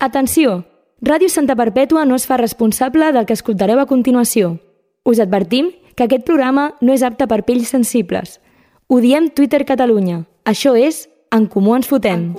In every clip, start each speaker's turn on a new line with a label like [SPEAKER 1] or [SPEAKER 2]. [SPEAKER 1] Atenció! Ràdio Santa Perpètua no es fa responsable del que escoltareu a continuació. Us advertim que aquest programa no és apte per pells sensibles. Ho diem Twitter Catalunya. Això és En Comú Ens Fotem.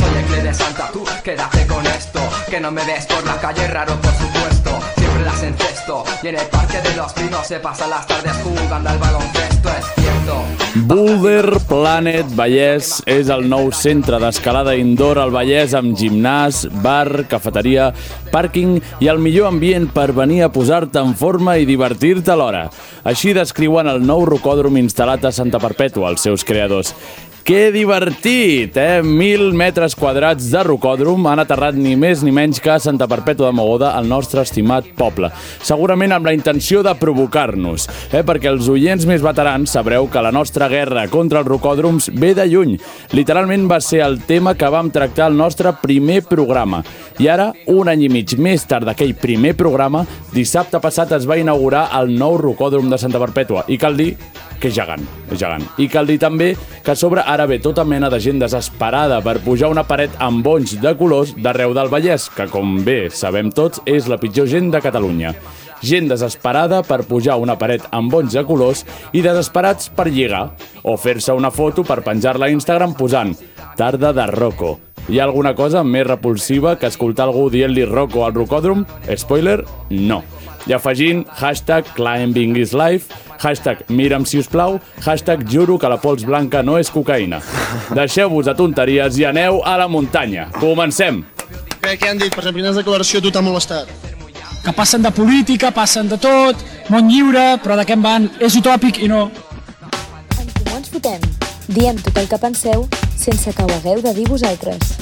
[SPEAKER 2] Soy el Cle de Santa, tú quédate con esto Que no me ves por la calle, raro por supuesto Siempre las encesto Y en el parque de los pinos se pasan las tardes jugando al baloncesto Es cierto,
[SPEAKER 3] Boulder Planet Vallès és el nou centre d'escalada indoor al Vallès amb gimnàs, bar, cafeteria, pàrquing i el millor ambient per venir a posar-te en forma i divertir-te alhora. Així descriuen el nou rocòdrom instal·lat a Santa Perpètua, els seus creadors. Que divertit, eh? 1.000 metres quadrats de rocòdrom han aterrat ni més ni menys que a Santa Perpètua de Mogoda, el nostre estimat poble. Segurament amb la intenció de provocar-nos, eh? perquè els oients més veterans sabreu que la nostra guerra contra els rocòdroms ve de lluny. Literalment va ser el tema que vam tractar al nostre primer programa. I ara, un any i mig més tard d'aquell primer programa, dissabte passat es va inaugurar el nou rocòdrom de Santa Perpètua. I cal dir que és gegant, és gegant. I cal dir també que a sobre ara ve tota mena de gent desesperada per pujar una paret amb bonys de colors d'arreu del Vallès, que com bé sabem tots és la pitjor gent de Catalunya. Gent desesperada per pujar una paret amb bonys de colors i desesperats per lligar o fer-se una foto per penjar-la a Instagram posant «Tarda de Rocco». Hi ha alguna cosa més repulsiva que escoltar algú dient-li Rocco al rocòdrom? Spoiler, no i afegint hashtag climbing is life, hashtag mira'm si us plau, hashtag juro que la pols blanca no és cocaïna. Deixeu-vos de tonteries i aneu a la muntanya. Comencem!
[SPEAKER 4] Què, què han dit? Per exemple, quines declaració a tu t'ha molestat?
[SPEAKER 5] que passen de política, passen de tot, món lliure, però de què en van? És utòpic i no.
[SPEAKER 6] En Comú Ens Fotem. Diem tot el que penseu sense que ho hagueu de dir vosaltres.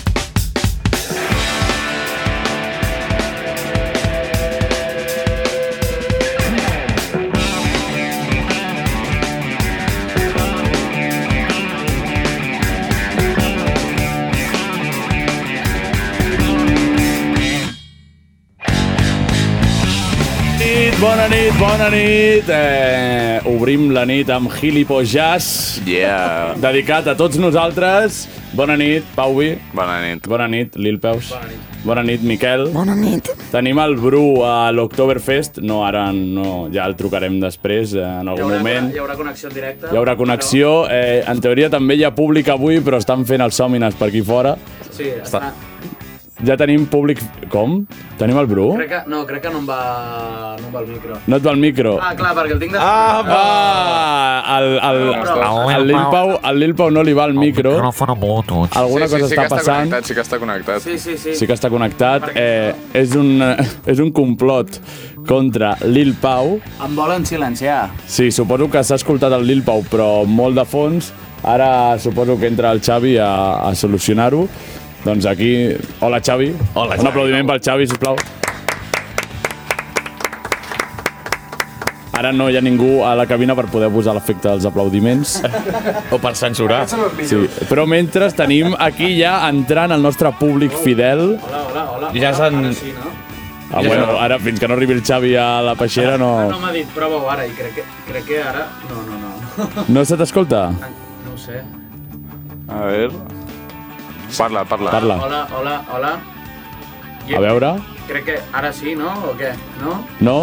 [SPEAKER 3] Nit, bona nit, bona nit! Eh, obrim la nit amb Gilipo Jazz,
[SPEAKER 7] Yeah.
[SPEAKER 3] dedicat a tots nosaltres. Bona nit, Pauvi.
[SPEAKER 7] Bona nit.
[SPEAKER 3] Bona nit, Lil Peus. Bona nit. Bona nit, Miquel.
[SPEAKER 8] Bona nit.
[SPEAKER 3] Tenim el Bru a l'Octoberfest. No, ara no, ja el trucarem després, eh, en algun moment.
[SPEAKER 9] hi haurà connexió en directe.
[SPEAKER 3] Hi haurà connexió. Eh, en teoria també hi ha públic avui, però estan fent els sòmines per aquí fora.
[SPEAKER 9] Però, sí, està.
[SPEAKER 3] Ja tenim públic... Com? Tenim el Bru?
[SPEAKER 9] Crec que, no, crec que no em va, no em va el micro.
[SPEAKER 3] No et va el micro.
[SPEAKER 9] Ah, clar, perquè el tinc de... Ah,
[SPEAKER 3] Ah, el, el, el, el, Lil Pau, el Lil Pau no li va el
[SPEAKER 9] Ah,
[SPEAKER 3] micro. Alguna
[SPEAKER 7] sí, sí,
[SPEAKER 3] cosa
[SPEAKER 7] sí
[SPEAKER 3] està
[SPEAKER 7] que
[SPEAKER 3] passant.
[SPEAKER 7] Connectat, sí que està connectat.
[SPEAKER 9] Sí, sí, sí.
[SPEAKER 3] Sí que està connectat. Eh, és, un, és un complot contra Lil Pau.
[SPEAKER 9] Em volen silenciar.
[SPEAKER 3] Sí, suposo que s'ha escoltat el Lil Pau, però molt de fons. Ara suposo que entra el Xavi a, a solucionar-ho. Doncs aquí... Hola, Xavi. Hola, Un aplaudiment pel Xavi, sisplau. Ara no hi ha ningú a la cabina per poder posar l'efecte dels aplaudiments.
[SPEAKER 10] O per censurar.
[SPEAKER 3] Sí. Però mentre tenim aquí ja entrant el nostre públic fidel.
[SPEAKER 10] Ja s'han...
[SPEAKER 3] Ah, bueno, ara fins que no arribi el Xavi a la peixera
[SPEAKER 9] No
[SPEAKER 3] no,
[SPEAKER 9] m'ha dit prova-ho ara i crec que, crec que ara... No, no, no.
[SPEAKER 3] no se t'escolta.
[SPEAKER 9] No ho sé.
[SPEAKER 7] A veure... Parla, parla.
[SPEAKER 3] Parla.
[SPEAKER 9] Hola, hola, hola.
[SPEAKER 3] A veure,
[SPEAKER 9] Crec que ara sí, no? O què? No?
[SPEAKER 3] no?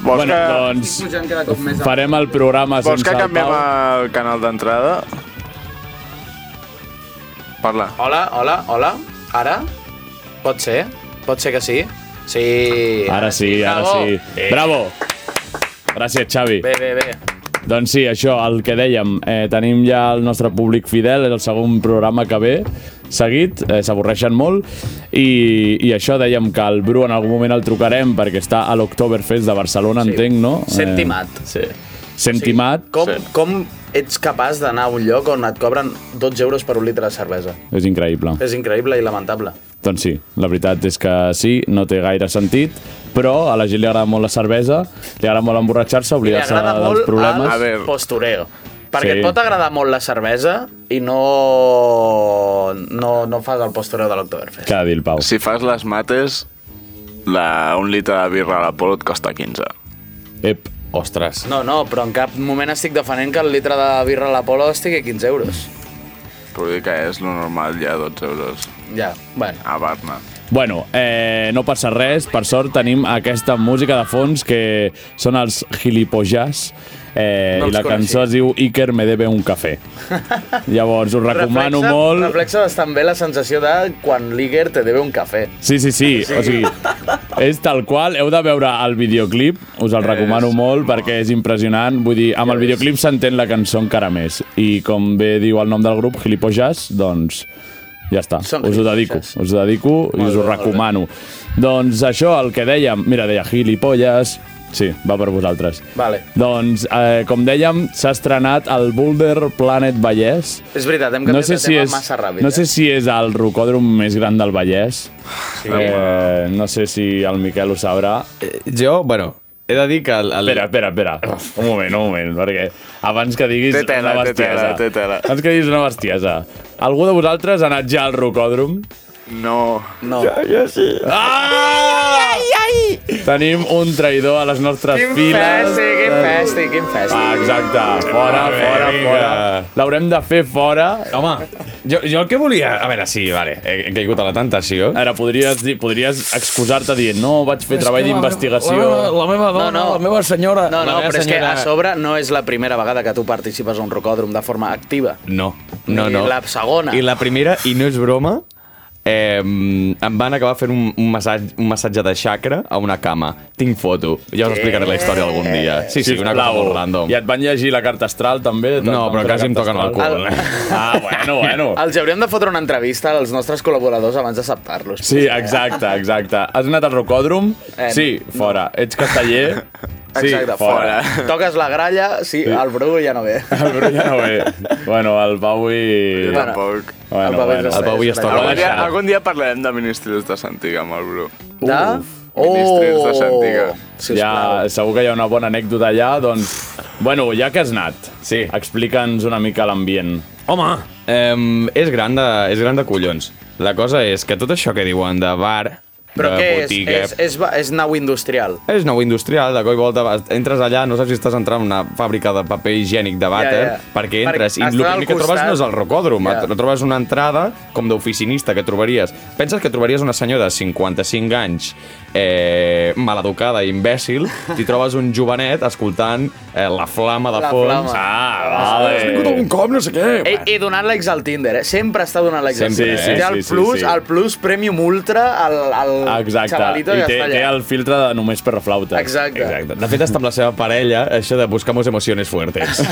[SPEAKER 7] Vols
[SPEAKER 3] Bueno,
[SPEAKER 7] que-
[SPEAKER 3] doncs
[SPEAKER 9] Estic pujant cada cop més alt.
[SPEAKER 3] farem el programa
[SPEAKER 7] Vols
[SPEAKER 3] sense
[SPEAKER 7] que
[SPEAKER 3] el
[SPEAKER 7] canviem
[SPEAKER 3] Pau.
[SPEAKER 7] el canal d'entrada? Parla.
[SPEAKER 9] Hola, hola, hola. Ara? Pot ser? Pot ser que sí? Sí.
[SPEAKER 3] Ara sí, ara
[SPEAKER 9] Bravo.
[SPEAKER 3] sí. Bravo! Gràcies, Xavi.
[SPEAKER 9] Bé, bé, bé.
[SPEAKER 3] Doncs sí, això, el que dèiem, eh, tenim ja el nostre públic fidel, és el segon programa que ve seguit, eh, s'avorreixen molt, i, i això dèiem que el Bru en algun moment el trucarem perquè està a l'Octoberfest de Barcelona, sí. entenc, no?
[SPEAKER 9] Sentimat.
[SPEAKER 10] Sí.
[SPEAKER 3] Eh, sentimat, sí.
[SPEAKER 9] Com, com ets capaç d'anar a un lloc on et cobren 12 euros per un litre de cervesa?
[SPEAKER 3] és increïble.
[SPEAKER 9] És increïble i lamentable.
[SPEAKER 3] Doncs sí, la veritat és que sí, no té gaire sentit, però a la gent li agrada molt la cervesa, li agrada molt emborratxar-se,
[SPEAKER 9] Li
[SPEAKER 3] oblidar-se
[SPEAKER 9] agrada
[SPEAKER 3] dels
[SPEAKER 9] molt
[SPEAKER 3] problemes.
[SPEAKER 7] a
[SPEAKER 9] el
[SPEAKER 7] veure.
[SPEAKER 9] postureo. Perquè
[SPEAKER 3] Sí.
[SPEAKER 9] et pot agradar molt la cervesa i no, no, no fas el postureo de l'Octoberfest.
[SPEAKER 3] Què ha de dir el Pau?
[SPEAKER 7] Si fas les mates, la, un litre de birra a la polo et costa 15.
[SPEAKER 3] Ep, Ostres.
[SPEAKER 9] No, no, però en cap moment estic defendent que el litre de birra a l'Apolo estigui 15 euros.
[SPEAKER 7] Però dir que és lo normal ja, 12 euros
[SPEAKER 9] Ja, bueno.
[SPEAKER 7] a Barna.
[SPEAKER 3] Bueno, eh, no passa res. Per sort tenim aquesta música de fons que són els gilipojàs. Eh,
[SPEAKER 9] No
[SPEAKER 3] I
[SPEAKER 9] els
[SPEAKER 3] la cançó
[SPEAKER 9] coneixia.
[SPEAKER 3] es diu Iker me debe un cafè. Llavors, us recomano
[SPEAKER 9] reflexa,
[SPEAKER 3] molt...
[SPEAKER 9] Reflexa bastant bé la sensació de quan l'Iger te deve un cafè.
[SPEAKER 3] Sí, sí, sí, o sigui, és tal qual, heu de veure el videoclip, us el recomano molt perquè és impressionant, vull dir, amb el videoclip s'entén la cançó encara més, i com bé diu el nom del grup, Gilipojàs, doncs ja està,
[SPEAKER 9] Són
[SPEAKER 3] us ho dedico,
[SPEAKER 9] gilipolles.
[SPEAKER 3] us ho dedico i us ho recomano. Doncs això, el que dèiem, mira, deia Gilipolles, sí, va per vosaltres.
[SPEAKER 9] Vale.
[SPEAKER 3] Doncs, eh, com dèiem, s'ha estrenat el Boulder Planet Vallès,
[SPEAKER 9] És veritat, hem
[SPEAKER 3] no
[SPEAKER 9] canviat
[SPEAKER 3] sé,
[SPEAKER 9] de
[SPEAKER 3] si
[SPEAKER 9] tema
[SPEAKER 3] és,
[SPEAKER 9] massa ràpid. eh?
[SPEAKER 3] no sé si és el rocòdrom més gran del Vallès. Sí. Eh, no sé si el Miquel ho sabrà.
[SPEAKER 10] Eh, Jo, bueno, he de dir que... El, el...
[SPEAKER 3] Espera, espera, espera. Un moment, un moment, perquè abans que diguis
[SPEAKER 7] Té tela,
[SPEAKER 3] una
[SPEAKER 7] té
[SPEAKER 3] bestiesa...
[SPEAKER 7] tela, té tela.
[SPEAKER 3] Abans que diguis una bestiesa. Algú de vosaltres ha anat ja al rocòdrom?
[SPEAKER 7] No,
[SPEAKER 9] No.
[SPEAKER 3] Ah! Ai, ai, ai! Tenim un traïdor a les nostres
[SPEAKER 9] Quin
[SPEAKER 3] files.
[SPEAKER 9] festi, quin festi, quin festi.
[SPEAKER 3] Ah, exacte. Fora, fora,
[SPEAKER 10] Vinga.
[SPEAKER 3] fora. L'haurem de fer fora.
[SPEAKER 10] Home, jo, jo el que volia... A veure, sí, vale, he, he caigut a la tentació.
[SPEAKER 3] Ara, podries, dir- podries excusar-te dient no, vaig fer treball d'investigació.
[SPEAKER 10] meva
[SPEAKER 9] No, no.
[SPEAKER 10] senyora... Ah, la
[SPEAKER 9] No, no,
[SPEAKER 10] meva
[SPEAKER 9] però és que
[SPEAKER 10] senyora-
[SPEAKER 9] a sobre no és la primera vegada que tu participes a un rocòdrom de forma activa.
[SPEAKER 10] No, no,
[SPEAKER 9] Ni
[SPEAKER 10] no.
[SPEAKER 9] la segona.
[SPEAKER 10] I la primera, i no és broma, eh, em van acabar fent un, un, massatge, un massatge de xacra a una cama. Tinc foto. Ja us explicaré la història algun dia. Sí, sí, una cosa
[SPEAKER 3] Sisplau.
[SPEAKER 10] molt random.
[SPEAKER 3] I et van llegir la carta astral, també? Te'n
[SPEAKER 10] No,
[SPEAKER 3] van
[SPEAKER 10] però
[SPEAKER 3] fer la
[SPEAKER 10] quasi em
[SPEAKER 3] carta
[SPEAKER 10] toquen el
[SPEAKER 3] astral?
[SPEAKER 10] cul.
[SPEAKER 3] Ah, bueno, bueno.
[SPEAKER 9] Els hauríem de fotre una entrevista als nostres col·laboradors abans d'acceptar-los.
[SPEAKER 3] Sí, exacte, exacte. Has anat al rocòdrom?
[SPEAKER 9] Eh,
[SPEAKER 3] Sí, fora. Ets casteller? Sí,
[SPEAKER 9] Exacte,
[SPEAKER 3] fora.
[SPEAKER 9] Toques la gralla, sí, el Bru ja no ve.
[SPEAKER 3] El Bru ja no ve. Bueno, el Pau i...
[SPEAKER 7] jo
[SPEAKER 9] Bueno.
[SPEAKER 7] tampoc.
[SPEAKER 3] Bueno,
[SPEAKER 9] Pau
[SPEAKER 3] bueno.
[SPEAKER 9] és
[SPEAKER 10] el Pau ja està
[SPEAKER 7] Algun dia,
[SPEAKER 10] deixar.
[SPEAKER 7] algun dia parlarem de ministres de Santiga amb el Bru.
[SPEAKER 9] De? Oh!
[SPEAKER 7] Ministres de Santiga.
[SPEAKER 3] Ja, segur que hi ha una bona anècdota allà, doncs... Bueno, ja que has anat,
[SPEAKER 10] Sí.
[SPEAKER 3] explica'ns una mica l'ambient.
[SPEAKER 10] Home! Eh, és, gran de, és gran de collons. La cosa és que tot això que diuen de bar,
[SPEAKER 3] eh,
[SPEAKER 9] Però
[SPEAKER 10] de
[SPEAKER 9] què és?
[SPEAKER 10] botiga...
[SPEAKER 9] És, és, va- és nau industrial.
[SPEAKER 10] És nou industrial, de coi volta vas- entres allà, no saps si estàs entrant en una fàbrica de paper higiènic de vàter,
[SPEAKER 9] Ja, ja.
[SPEAKER 10] perquè entres i
[SPEAKER 9] Perquè
[SPEAKER 10] el
[SPEAKER 9] estàs al
[SPEAKER 10] primer que trobes
[SPEAKER 9] costat.
[SPEAKER 10] no és el rocòdrom,
[SPEAKER 9] Ja.
[SPEAKER 10] yeah. trobes una entrada com d'oficinista que trobaries. Penses que trobaries una senyora de 55 anys, eh, maleducada i imbècil, t'hi trobes un jovenet escoltant eh, la flama de
[SPEAKER 9] La
[SPEAKER 10] fons.
[SPEAKER 9] Flama.
[SPEAKER 3] Ah, vale.
[SPEAKER 10] Un cop, no sé què.
[SPEAKER 9] He, he donat l'ex al Tinder, eh? Sempre està donant l'ex al
[SPEAKER 3] Sempre,
[SPEAKER 9] Tinder.
[SPEAKER 3] sí,
[SPEAKER 9] Té
[SPEAKER 3] sí,
[SPEAKER 9] el
[SPEAKER 3] sí,
[SPEAKER 9] plus,
[SPEAKER 3] sí.
[SPEAKER 9] el plus Premium Ultra al, al
[SPEAKER 3] Exacte,
[SPEAKER 9] xavalito
[SPEAKER 3] i
[SPEAKER 9] que
[SPEAKER 3] té,
[SPEAKER 9] està
[SPEAKER 3] té
[SPEAKER 9] allà.
[SPEAKER 3] el filtre de només per la flauta.
[SPEAKER 9] Exacte.
[SPEAKER 10] Exacte. De fet, està amb la seva parella, això de buscamos emociones fuertes.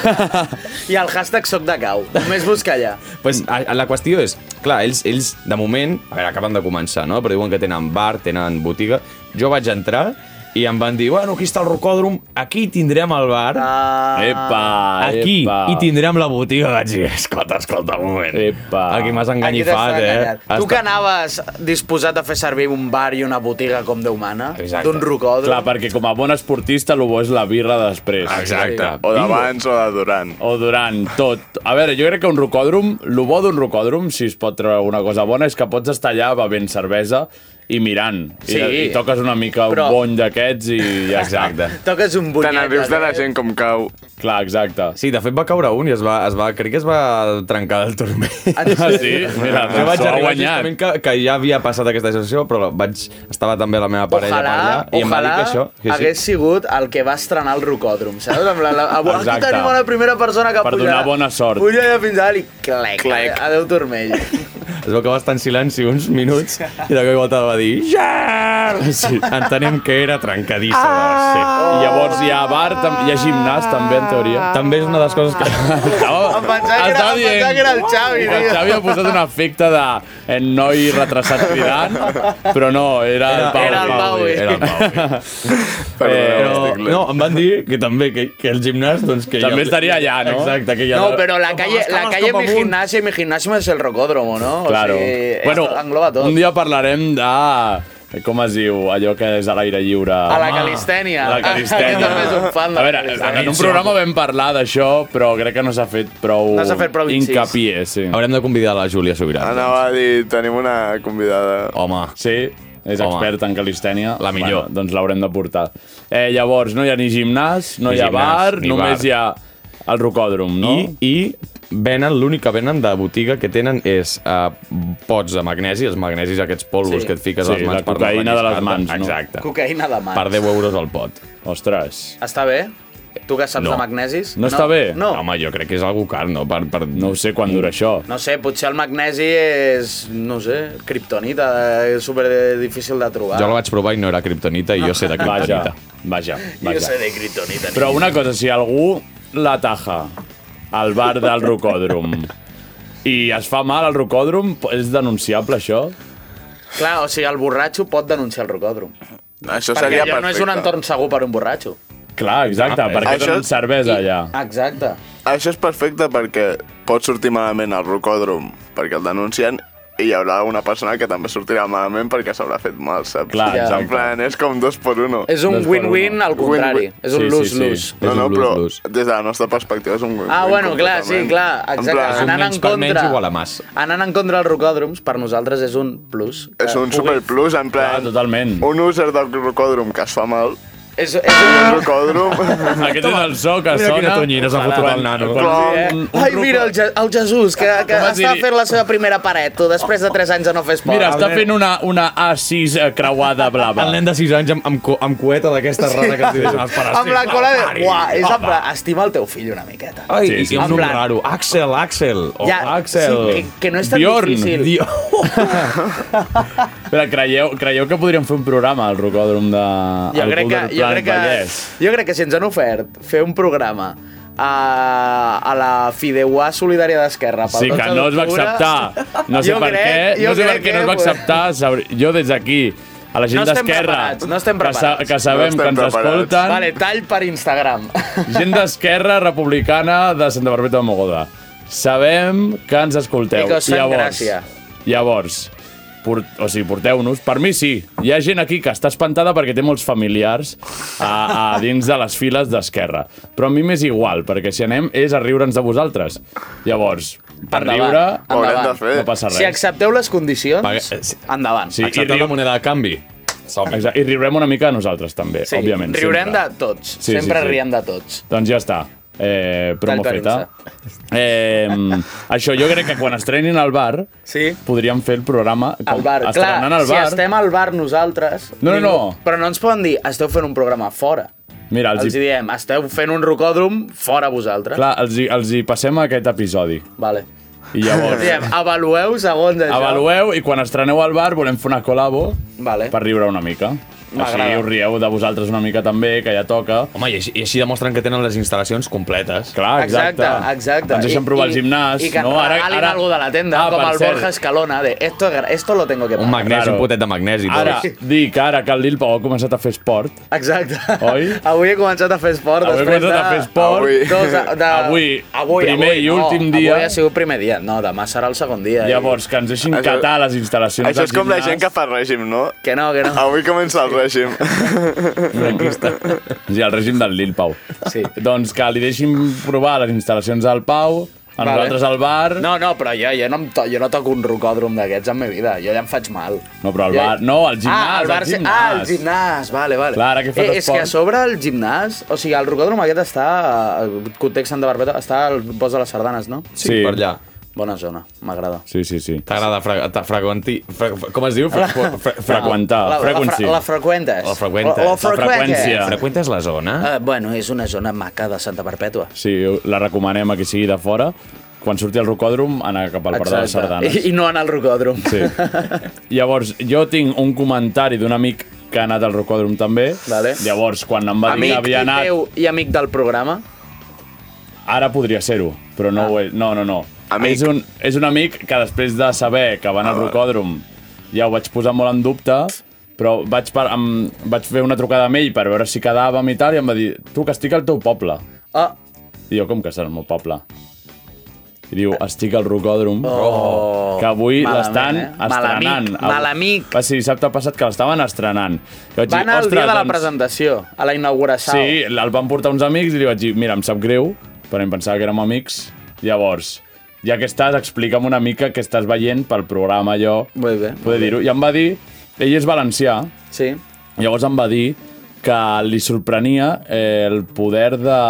[SPEAKER 9] I el hashtag soc de cau. Només busca allà.
[SPEAKER 10] Pues, a, a la qüestió és, clar, ells, ells de moment, a veure, acaben de començar, no? Però diuen que tenen bar, tenen botiga. Jo vaig entrar i em van dir, bueno, aquí està el rocòdrom, aquí tindrem el bar,
[SPEAKER 9] Ah,
[SPEAKER 3] Epa,
[SPEAKER 10] aquí,
[SPEAKER 3] epa.
[SPEAKER 10] i tindrem la botiga. Vaig dir, escolta, escolta, un moment.
[SPEAKER 3] Epa.
[SPEAKER 10] Aquí m'has
[SPEAKER 9] aquí
[SPEAKER 10] enganyifat,
[SPEAKER 9] t'està
[SPEAKER 10] eh?
[SPEAKER 9] enganyat. Tu que anaves disposat a fer servir un bar i una botiga com Déu mana,
[SPEAKER 10] Exacte.
[SPEAKER 9] d'un rocòdrom.
[SPEAKER 3] Clar, perquè com a bon esportista el bo és la birra de després.
[SPEAKER 10] Exacte. Oh,
[SPEAKER 7] O d'abans o de durant.
[SPEAKER 3] O durant tot. A veure, jo crec que un rocòdrom, el bo d'un rocòdrom, si es pot treure alguna cosa bona, és que pots estar allà bevent cervesa i mirant.
[SPEAKER 9] Sí.
[SPEAKER 3] I, i toques una mica Però...
[SPEAKER 9] Però-
[SPEAKER 3] un bony d'aquests i ja està.
[SPEAKER 10] Exacte.
[SPEAKER 9] Toques un
[SPEAKER 7] Te
[SPEAKER 9] bunyet.
[SPEAKER 7] n'arrius de la
[SPEAKER 9] eh?
[SPEAKER 7] gent com cau.
[SPEAKER 3] Clar, exacte.
[SPEAKER 10] Sí, de fet va caure un i es va, es va, crec que es va trencar el turmell.
[SPEAKER 3] Ah, sí? Mira,
[SPEAKER 10] Jo
[SPEAKER 3] doncs
[SPEAKER 10] vaig
[SPEAKER 3] s'ho ha
[SPEAKER 10] arribar
[SPEAKER 3] guanyat.
[SPEAKER 10] justament que, que ja havia passat aquesta situació, però vaig, estava també la meva parella
[SPEAKER 9] Ojalà,
[SPEAKER 10] per allà i em va dir
[SPEAKER 9] ojalà
[SPEAKER 10] que això... Que
[SPEAKER 9] hagués sigut el que va estrenar el rocòdrom, saps? Amb la, la, avui, aquí
[SPEAKER 3] Exacte.
[SPEAKER 9] tenim a la primera persona que
[SPEAKER 3] Per
[SPEAKER 9] puja.
[SPEAKER 3] donar bona sort.
[SPEAKER 9] Puja allà fins allà i clec, clec. adeu turmell.
[SPEAKER 10] Es veu que va estar en silenci uns minuts i de cop i volta va dir Gerard! Sí. Entenem que era trencadissa. Ah!
[SPEAKER 3] I llavors hi ha bar, tam- hi ha gimnàs també, en teoria.
[SPEAKER 10] Sí. També és una de les coses que...
[SPEAKER 3] No,
[SPEAKER 9] Em pensava que era-
[SPEAKER 3] estava
[SPEAKER 9] em pensava que era el Xavi,
[SPEAKER 3] El
[SPEAKER 9] tio.
[SPEAKER 3] Xavi ha posat un efecte de eh, noi retrasat cridant, però no, era, el Pau.
[SPEAKER 9] era el Pau, eh?
[SPEAKER 10] Era el Pau.
[SPEAKER 7] Perdoneu,
[SPEAKER 10] Però,
[SPEAKER 7] estic lent.
[SPEAKER 10] no, em van dir que també, que, que el gimnàs, doncs que...
[SPEAKER 3] També estaria allà, no?
[SPEAKER 10] Exacte, que ja...
[SPEAKER 9] No, però la calle,
[SPEAKER 10] les
[SPEAKER 9] la
[SPEAKER 10] cames
[SPEAKER 9] calle
[SPEAKER 10] cap
[SPEAKER 9] mi
[SPEAKER 10] amunt.
[SPEAKER 9] gimnasio i mi gimnasio és el rocòdromo, no?
[SPEAKER 3] Claro.
[SPEAKER 9] O sigui,
[SPEAKER 3] bueno,
[SPEAKER 9] esto engloba tot.
[SPEAKER 3] un dia parlarem de... Com es diu? Allò que és a l'aire lliure.
[SPEAKER 9] A la calistènia.
[SPEAKER 3] La calistènia.
[SPEAKER 9] Jo també soc un fan
[SPEAKER 3] a
[SPEAKER 9] de la
[SPEAKER 3] veure,
[SPEAKER 9] calistènia.
[SPEAKER 3] en un programa vam parlar d'això, però crec que no s'ha fet prou...
[SPEAKER 9] No s'ha fet prou incís.
[SPEAKER 3] Hincapié, sí.
[SPEAKER 10] Haurem de convidar la Júlia Sobirà.
[SPEAKER 7] Anava a dir, tenim una convidada.
[SPEAKER 10] Home,
[SPEAKER 3] Sí? És
[SPEAKER 10] Home.
[SPEAKER 3] Ah, experta en calistènia.
[SPEAKER 10] La millor.
[SPEAKER 3] Bueno, doncs l'haurem de portar. Eh, llavors, no hi ha ni gimnàs, no
[SPEAKER 10] Ni
[SPEAKER 3] hi ha
[SPEAKER 10] gimnàs,
[SPEAKER 3] bar,
[SPEAKER 10] ni
[SPEAKER 3] només
[SPEAKER 10] bar.
[SPEAKER 3] hi ha el rocòdrom, no?
[SPEAKER 10] I, i venen, l'únic que venen de botiga que tenen és uh, pots de magnesi, els magnesis aquests polvos
[SPEAKER 9] Sí.
[SPEAKER 10] que et fiques
[SPEAKER 3] Sí,
[SPEAKER 10] a les mans
[SPEAKER 3] la cocaïna de les mans, no?
[SPEAKER 10] Exacte.
[SPEAKER 9] Cocaïna de mans.
[SPEAKER 10] Per 10 euros al pot.
[SPEAKER 3] Ostres.
[SPEAKER 9] Està bé? Tu que saps
[SPEAKER 10] No.
[SPEAKER 9] de magnesis?
[SPEAKER 3] No està bé?
[SPEAKER 9] No.
[SPEAKER 10] Home, jo crec que és algú car, no? Per, per...
[SPEAKER 3] No ho sé quan dura això.
[SPEAKER 9] No sé, potser el magnesi és, no sé, kriptonita, és super difícil de trobar.
[SPEAKER 10] Jo la vaig provar i no era kriptonita i jo sé de
[SPEAKER 3] Vaja,
[SPEAKER 10] kriptonita.
[SPEAKER 3] vaja,
[SPEAKER 9] Jo
[SPEAKER 3] vaja.
[SPEAKER 9] sé de kriptonita.
[SPEAKER 3] Però una cosa, si algú la taja al bar del rocòdrom i es fa mal al rocòdrom, és denunciable això?
[SPEAKER 9] Clar, o sigui, el borratxo pot denunciar el rocòdrom.
[SPEAKER 7] Això
[SPEAKER 9] Perquè
[SPEAKER 7] seria
[SPEAKER 9] allò
[SPEAKER 7] perfecte.
[SPEAKER 9] no és un entorn segur per un borratxo.
[SPEAKER 3] Clar, exacte,
[SPEAKER 10] Ah,
[SPEAKER 3] perquè
[SPEAKER 7] això-
[SPEAKER 3] tenen cervesa allà.
[SPEAKER 9] Exacte.
[SPEAKER 7] Això és perfecte perquè pot sortir malament al rocòdrom, perquè el denuncien i hi haurà una persona que també sortirà malament perquè s'haurà fet mal, saps?
[SPEAKER 3] Clar,
[SPEAKER 7] és
[SPEAKER 3] exacte.
[SPEAKER 7] en plan, és com dos per uno.
[SPEAKER 9] És un
[SPEAKER 3] Dos per
[SPEAKER 9] win-win
[SPEAKER 3] uno.
[SPEAKER 9] al contrari.
[SPEAKER 7] Win-win.
[SPEAKER 9] És un
[SPEAKER 3] Sí, sí,
[SPEAKER 9] lose-lose.
[SPEAKER 3] sí.
[SPEAKER 7] No,
[SPEAKER 10] És
[SPEAKER 7] no,
[SPEAKER 10] un
[SPEAKER 7] però
[SPEAKER 10] lose-lose.
[SPEAKER 7] des de la nostra perspectiva és un win-win.
[SPEAKER 9] Ah, bueno, clar, sí,
[SPEAKER 7] completament.
[SPEAKER 9] clar,
[SPEAKER 7] En
[SPEAKER 9] exacte.
[SPEAKER 7] plan,
[SPEAKER 10] un
[SPEAKER 9] Anant
[SPEAKER 10] menys
[SPEAKER 9] en
[SPEAKER 10] per menys
[SPEAKER 9] contra...
[SPEAKER 10] igual a mas.
[SPEAKER 9] Anant en contra dels rocòdroms, per nosaltres és un plus.
[SPEAKER 7] És un superplus, en plan...
[SPEAKER 3] Clar, Ah, totalment.
[SPEAKER 7] Un user del rocòdrom que es fa mal,
[SPEAKER 9] És, és
[SPEAKER 7] un
[SPEAKER 9] un...
[SPEAKER 7] rocòdrom...
[SPEAKER 3] Aquest és el so que
[SPEAKER 10] Mira
[SPEAKER 3] sona.
[SPEAKER 10] quina tonyina s'ha fotut el nano.
[SPEAKER 7] Clar.
[SPEAKER 3] eh, un- un
[SPEAKER 9] Ai,
[SPEAKER 3] rocò-
[SPEAKER 9] mira, el, Je el Jesús, que, que
[SPEAKER 3] Com et
[SPEAKER 9] està
[SPEAKER 3] diria?
[SPEAKER 9] fent la seva primera paret, tu, després de 3 anys de no fer esport.
[SPEAKER 3] Mira, està
[SPEAKER 10] nen-
[SPEAKER 3] fent una, una A6 eh, creuada blava.
[SPEAKER 10] El nen de 6 anys amb, amb, cu- amb cueta d'aquesta rara que els diuen els pares.
[SPEAKER 9] amb la
[SPEAKER 10] "Sí,
[SPEAKER 9] cola de...
[SPEAKER 10] pari,
[SPEAKER 9] Uah, és en
[SPEAKER 10] home".
[SPEAKER 9] plan, estima el teu fill una miqueta.
[SPEAKER 10] Ai,
[SPEAKER 3] eh. Sí,
[SPEAKER 10] sí,
[SPEAKER 3] sí,
[SPEAKER 10] sí,
[SPEAKER 9] en
[SPEAKER 10] un nom
[SPEAKER 9] plan-
[SPEAKER 10] raro. Axel, Axel. Oh, Axel.
[SPEAKER 9] sí, que, que no és
[SPEAKER 3] Eh,
[SPEAKER 9] tan
[SPEAKER 3] Bjorn,
[SPEAKER 9] difícil.
[SPEAKER 10] Dio.
[SPEAKER 3] Però creieu, creieu que podríem fer un programa al rocòdrom de...
[SPEAKER 9] Jo
[SPEAKER 3] al
[SPEAKER 9] crec, que,
[SPEAKER 3] Boulder
[SPEAKER 9] jo,
[SPEAKER 3] Planet
[SPEAKER 9] crec que,
[SPEAKER 3] Vallès?
[SPEAKER 9] jo crec que si ens han ofert fer un programa eh, a, a la Fideuà Solidària d'Esquerra pel
[SPEAKER 3] Sí, que
[SPEAKER 9] 12
[SPEAKER 3] no es va
[SPEAKER 9] d'octubre,
[SPEAKER 3] acceptar. No sé
[SPEAKER 9] jo
[SPEAKER 3] per
[SPEAKER 9] crec-
[SPEAKER 3] què,
[SPEAKER 9] jo
[SPEAKER 3] no sé per
[SPEAKER 9] crec
[SPEAKER 3] què no es va
[SPEAKER 9] que-
[SPEAKER 3] acceptar. sabr- Jo des d'aquí, a la gent
[SPEAKER 9] No estem
[SPEAKER 3] d'Esquerra,
[SPEAKER 9] preparats, no estem
[SPEAKER 3] que, sa-
[SPEAKER 9] preparats.
[SPEAKER 3] que sabem
[SPEAKER 7] No
[SPEAKER 3] que
[SPEAKER 7] estem
[SPEAKER 3] ens
[SPEAKER 7] preparats.
[SPEAKER 3] escolten,
[SPEAKER 9] Vale, tall per Instagram.
[SPEAKER 3] gent d'Esquerra Republicana de Santa Barbeta de Mogoda, sabem que ens escolteu.
[SPEAKER 9] I que us fem
[SPEAKER 3] llavors,
[SPEAKER 9] gràcia.
[SPEAKER 3] Llavors, port, o sigui, porteu-nos. Per mi sí, hi ha gent aquí que està espantada perquè té molts familiars a, a dins de les files d'Esquerra. Però a mi m'és igual, perquè si anem és a riure'ns de vosaltres. Llavors, per
[SPEAKER 9] Endavant.
[SPEAKER 3] riure...
[SPEAKER 7] Ho haurem de
[SPEAKER 9] Endavant.
[SPEAKER 7] fer.
[SPEAKER 3] No passa res.
[SPEAKER 9] Si accepteu les condicions,
[SPEAKER 10] Pague- eh, sí.
[SPEAKER 9] endavant.
[SPEAKER 3] Sí, i,
[SPEAKER 10] Accepteu
[SPEAKER 3] riu,
[SPEAKER 10] la moneda de canvi. Som-hi.
[SPEAKER 3] exacte, I riurem una mica nosaltres també,
[SPEAKER 9] Sí,
[SPEAKER 3] òbviament.
[SPEAKER 9] riurem
[SPEAKER 3] sempre.
[SPEAKER 9] de tots.
[SPEAKER 3] Sí, sí,
[SPEAKER 9] sempre
[SPEAKER 3] sí.
[SPEAKER 9] riem de tots.
[SPEAKER 3] Doncs ja està. Eh, promo
[SPEAKER 9] Tal
[SPEAKER 3] feta. Eh, això, jo crec que quan estrenin al bar
[SPEAKER 9] Sí.
[SPEAKER 3] podríem fer el programa
[SPEAKER 9] Al bar, clar,
[SPEAKER 3] estrenant al
[SPEAKER 9] si
[SPEAKER 3] bar.
[SPEAKER 9] estem al bar nosaltres...
[SPEAKER 3] No, no,
[SPEAKER 9] ningú-
[SPEAKER 3] no.
[SPEAKER 9] Però no ens poden dir, esteu fent un programa fora.
[SPEAKER 3] Mira,
[SPEAKER 9] Els,
[SPEAKER 3] els,
[SPEAKER 9] hi eh?
[SPEAKER 3] hi,
[SPEAKER 9] diem, esteu fent un rocòdrom fora vosaltres.
[SPEAKER 3] clar, els, hi, els hi passem aquest episodi.
[SPEAKER 9] Vale.
[SPEAKER 3] I
[SPEAKER 9] Els
[SPEAKER 3] llavors,
[SPEAKER 9] diem, avalueu segons això.
[SPEAKER 3] avalueu i quan estreneu al bar volem fer una col·labo
[SPEAKER 9] Vale.
[SPEAKER 3] per riure una mica. Així
[SPEAKER 9] M'agrada.
[SPEAKER 3] us rieu de vosaltres una mica també, que ja toca.
[SPEAKER 10] Home, i així, i així demostren que tenen les instal·lacions completes.
[SPEAKER 3] Clar, Ah, exacte.
[SPEAKER 9] Exacte, exacte.
[SPEAKER 3] Ens deixen
[SPEAKER 9] I-
[SPEAKER 3] provar
[SPEAKER 9] i-
[SPEAKER 3] el gimnàs.
[SPEAKER 9] I que
[SPEAKER 3] no?
[SPEAKER 9] ara, regalin ara... algo de la tenda, ah, com
[SPEAKER 3] per
[SPEAKER 9] el
[SPEAKER 3] cert,
[SPEAKER 9] Borja Escalona, de esto, es gra- esto lo tengo que
[SPEAKER 10] Un
[SPEAKER 9] pagar.
[SPEAKER 10] magnesi,
[SPEAKER 3] Claro.
[SPEAKER 10] un potet de magnesi. tot.
[SPEAKER 3] Ara, dic, ara que el Lil Pau ha començat a fer esport,
[SPEAKER 9] Exacte.
[SPEAKER 3] Oi?
[SPEAKER 9] Avui he començat a fer esport.
[SPEAKER 3] Avui he
[SPEAKER 9] després
[SPEAKER 3] començat a
[SPEAKER 9] de-
[SPEAKER 3] fer esport.
[SPEAKER 7] Avui.
[SPEAKER 9] Dos, de...
[SPEAKER 3] Avui, primer i últim dia.
[SPEAKER 9] Avui ha sigut primer dia. No, demà serà el segon dia. eh?
[SPEAKER 3] llavors que ens deixin
[SPEAKER 7] Això-
[SPEAKER 3] catar les instal·lacions
[SPEAKER 7] Això és
[SPEAKER 3] del
[SPEAKER 7] com la
[SPEAKER 3] gimnàs.
[SPEAKER 7] gent que fa règim, no?
[SPEAKER 9] I... Que no, que
[SPEAKER 3] Ah.
[SPEAKER 9] no.
[SPEAKER 7] Avui comença el règim.
[SPEAKER 3] franquista. Sí, el règim del Lil Pau.
[SPEAKER 9] Sí.
[SPEAKER 3] Doncs que li deixin provar les instal·lacions del Pau, a
[SPEAKER 9] Vale.
[SPEAKER 3] nosaltres al bar...
[SPEAKER 9] No, no, però jo, jo, no, em to, jo no toco un rocòdrom d'aquests en la meva vida. Jo ja em faig mal.
[SPEAKER 3] No, però al
[SPEAKER 9] Jo-
[SPEAKER 3] bar- no, al gimnàs,
[SPEAKER 9] Ah, al, bar,
[SPEAKER 3] al
[SPEAKER 9] sí-
[SPEAKER 3] gimnàs.
[SPEAKER 9] Ah, al gimnàs, vale, vale.
[SPEAKER 3] Clar, ara que he fet
[SPEAKER 9] eh, És
[SPEAKER 3] esport.
[SPEAKER 9] que a sobre el gimnàs, o sigui, el rocòdrom aquest està, el context Santa Barbeta, està al bosc de les Sardanes, no?
[SPEAKER 10] Sí, per allà.
[SPEAKER 9] Bona zona, m'agrada.
[SPEAKER 3] Sí, sí, sí.
[SPEAKER 10] T'agrada fre ta- freqüenti... Fre com es diu? Fre fre fre
[SPEAKER 3] Freqüentar,
[SPEAKER 9] La, la,
[SPEAKER 3] freqüenci.
[SPEAKER 9] fra- la freqüentes.
[SPEAKER 10] La freqüentes.
[SPEAKER 9] La,
[SPEAKER 10] La
[SPEAKER 3] freqüència.
[SPEAKER 9] freqüentes.
[SPEAKER 10] Freqüentes la zona?
[SPEAKER 9] Ah, bueno, és una zona maca de Santa Perpètua.
[SPEAKER 3] Sí, la recomanem a qui sigui de fora. Quan surti al rocòdrom, anar cap al Parc de les Sardanes.
[SPEAKER 9] I, I no anar al rocòdrom.
[SPEAKER 3] Sí. Llavors, jo tinc un comentari d'un amic que ha anat al rocòdrom també.
[SPEAKER 9] Vale.
[SPEAKER 3] Llavors, quan em va dir
[SPEAKER 9] Amic
[SPEAKER 3] que havia
[SPEAKER 9] i
[SPEAKER 3] anat...
[SPEAKER 9] teu i amic del programa.
[SPEAKER 3] Ara podria ser-ho, però no ah. ho és. No, no, no.
[SPEAKER 7] Amic.
[SPEAKER 3] És, un, és un amic que després de saber que va anar al
[SPEAKER 9] Ah.
[SPEAKER 3] rocòdrom ja ho vaig posar molt en dubte, però vaig, par em, vaig fer una trucada amb ell per veure si quedàvem i tal, i em va dir, tu, que estic al teu poble.
[SPEAKER 9] Ah,
[SPEAKER 3] I jo, com que serà el meu poble? I diu, estic al rocòdrom, oh, que avui
[SPEAKER 9] malament,
[SPEAKER 3] l'estan
[SPEAKER 9] eh?
[SPEAKER 3] estrenant.
[SPEAKER 9] Malamic, malamic.
[SPEAKER 3] Va ser dissabte passat que l'estaven estrenant. I vaig
[SPEAKER 9] va anar el
[SPEAKER 3] "Ostres,
[SPEAKER 9] dia de la
[SPEAKER 3] doncs,
[SPEAKER 9] presentació, a la inauguració.
[SPEAKER 3] Sí, el van portar uns amics i li vaig dir, mira, em sap greu, però em pensava que érem amics. Llavors, ja que estàs, explica'm una mica què estàs veient pel programa, allò.
[SPEAKER 9] Molt bé, molt
[SPEAKER 3] Poder dir-ho. I em va dir ell és valencià,
[SPEAKER 9] Sí.
[SPEAKER 3] llavors em va dir que li sorprenia eh, el poder de,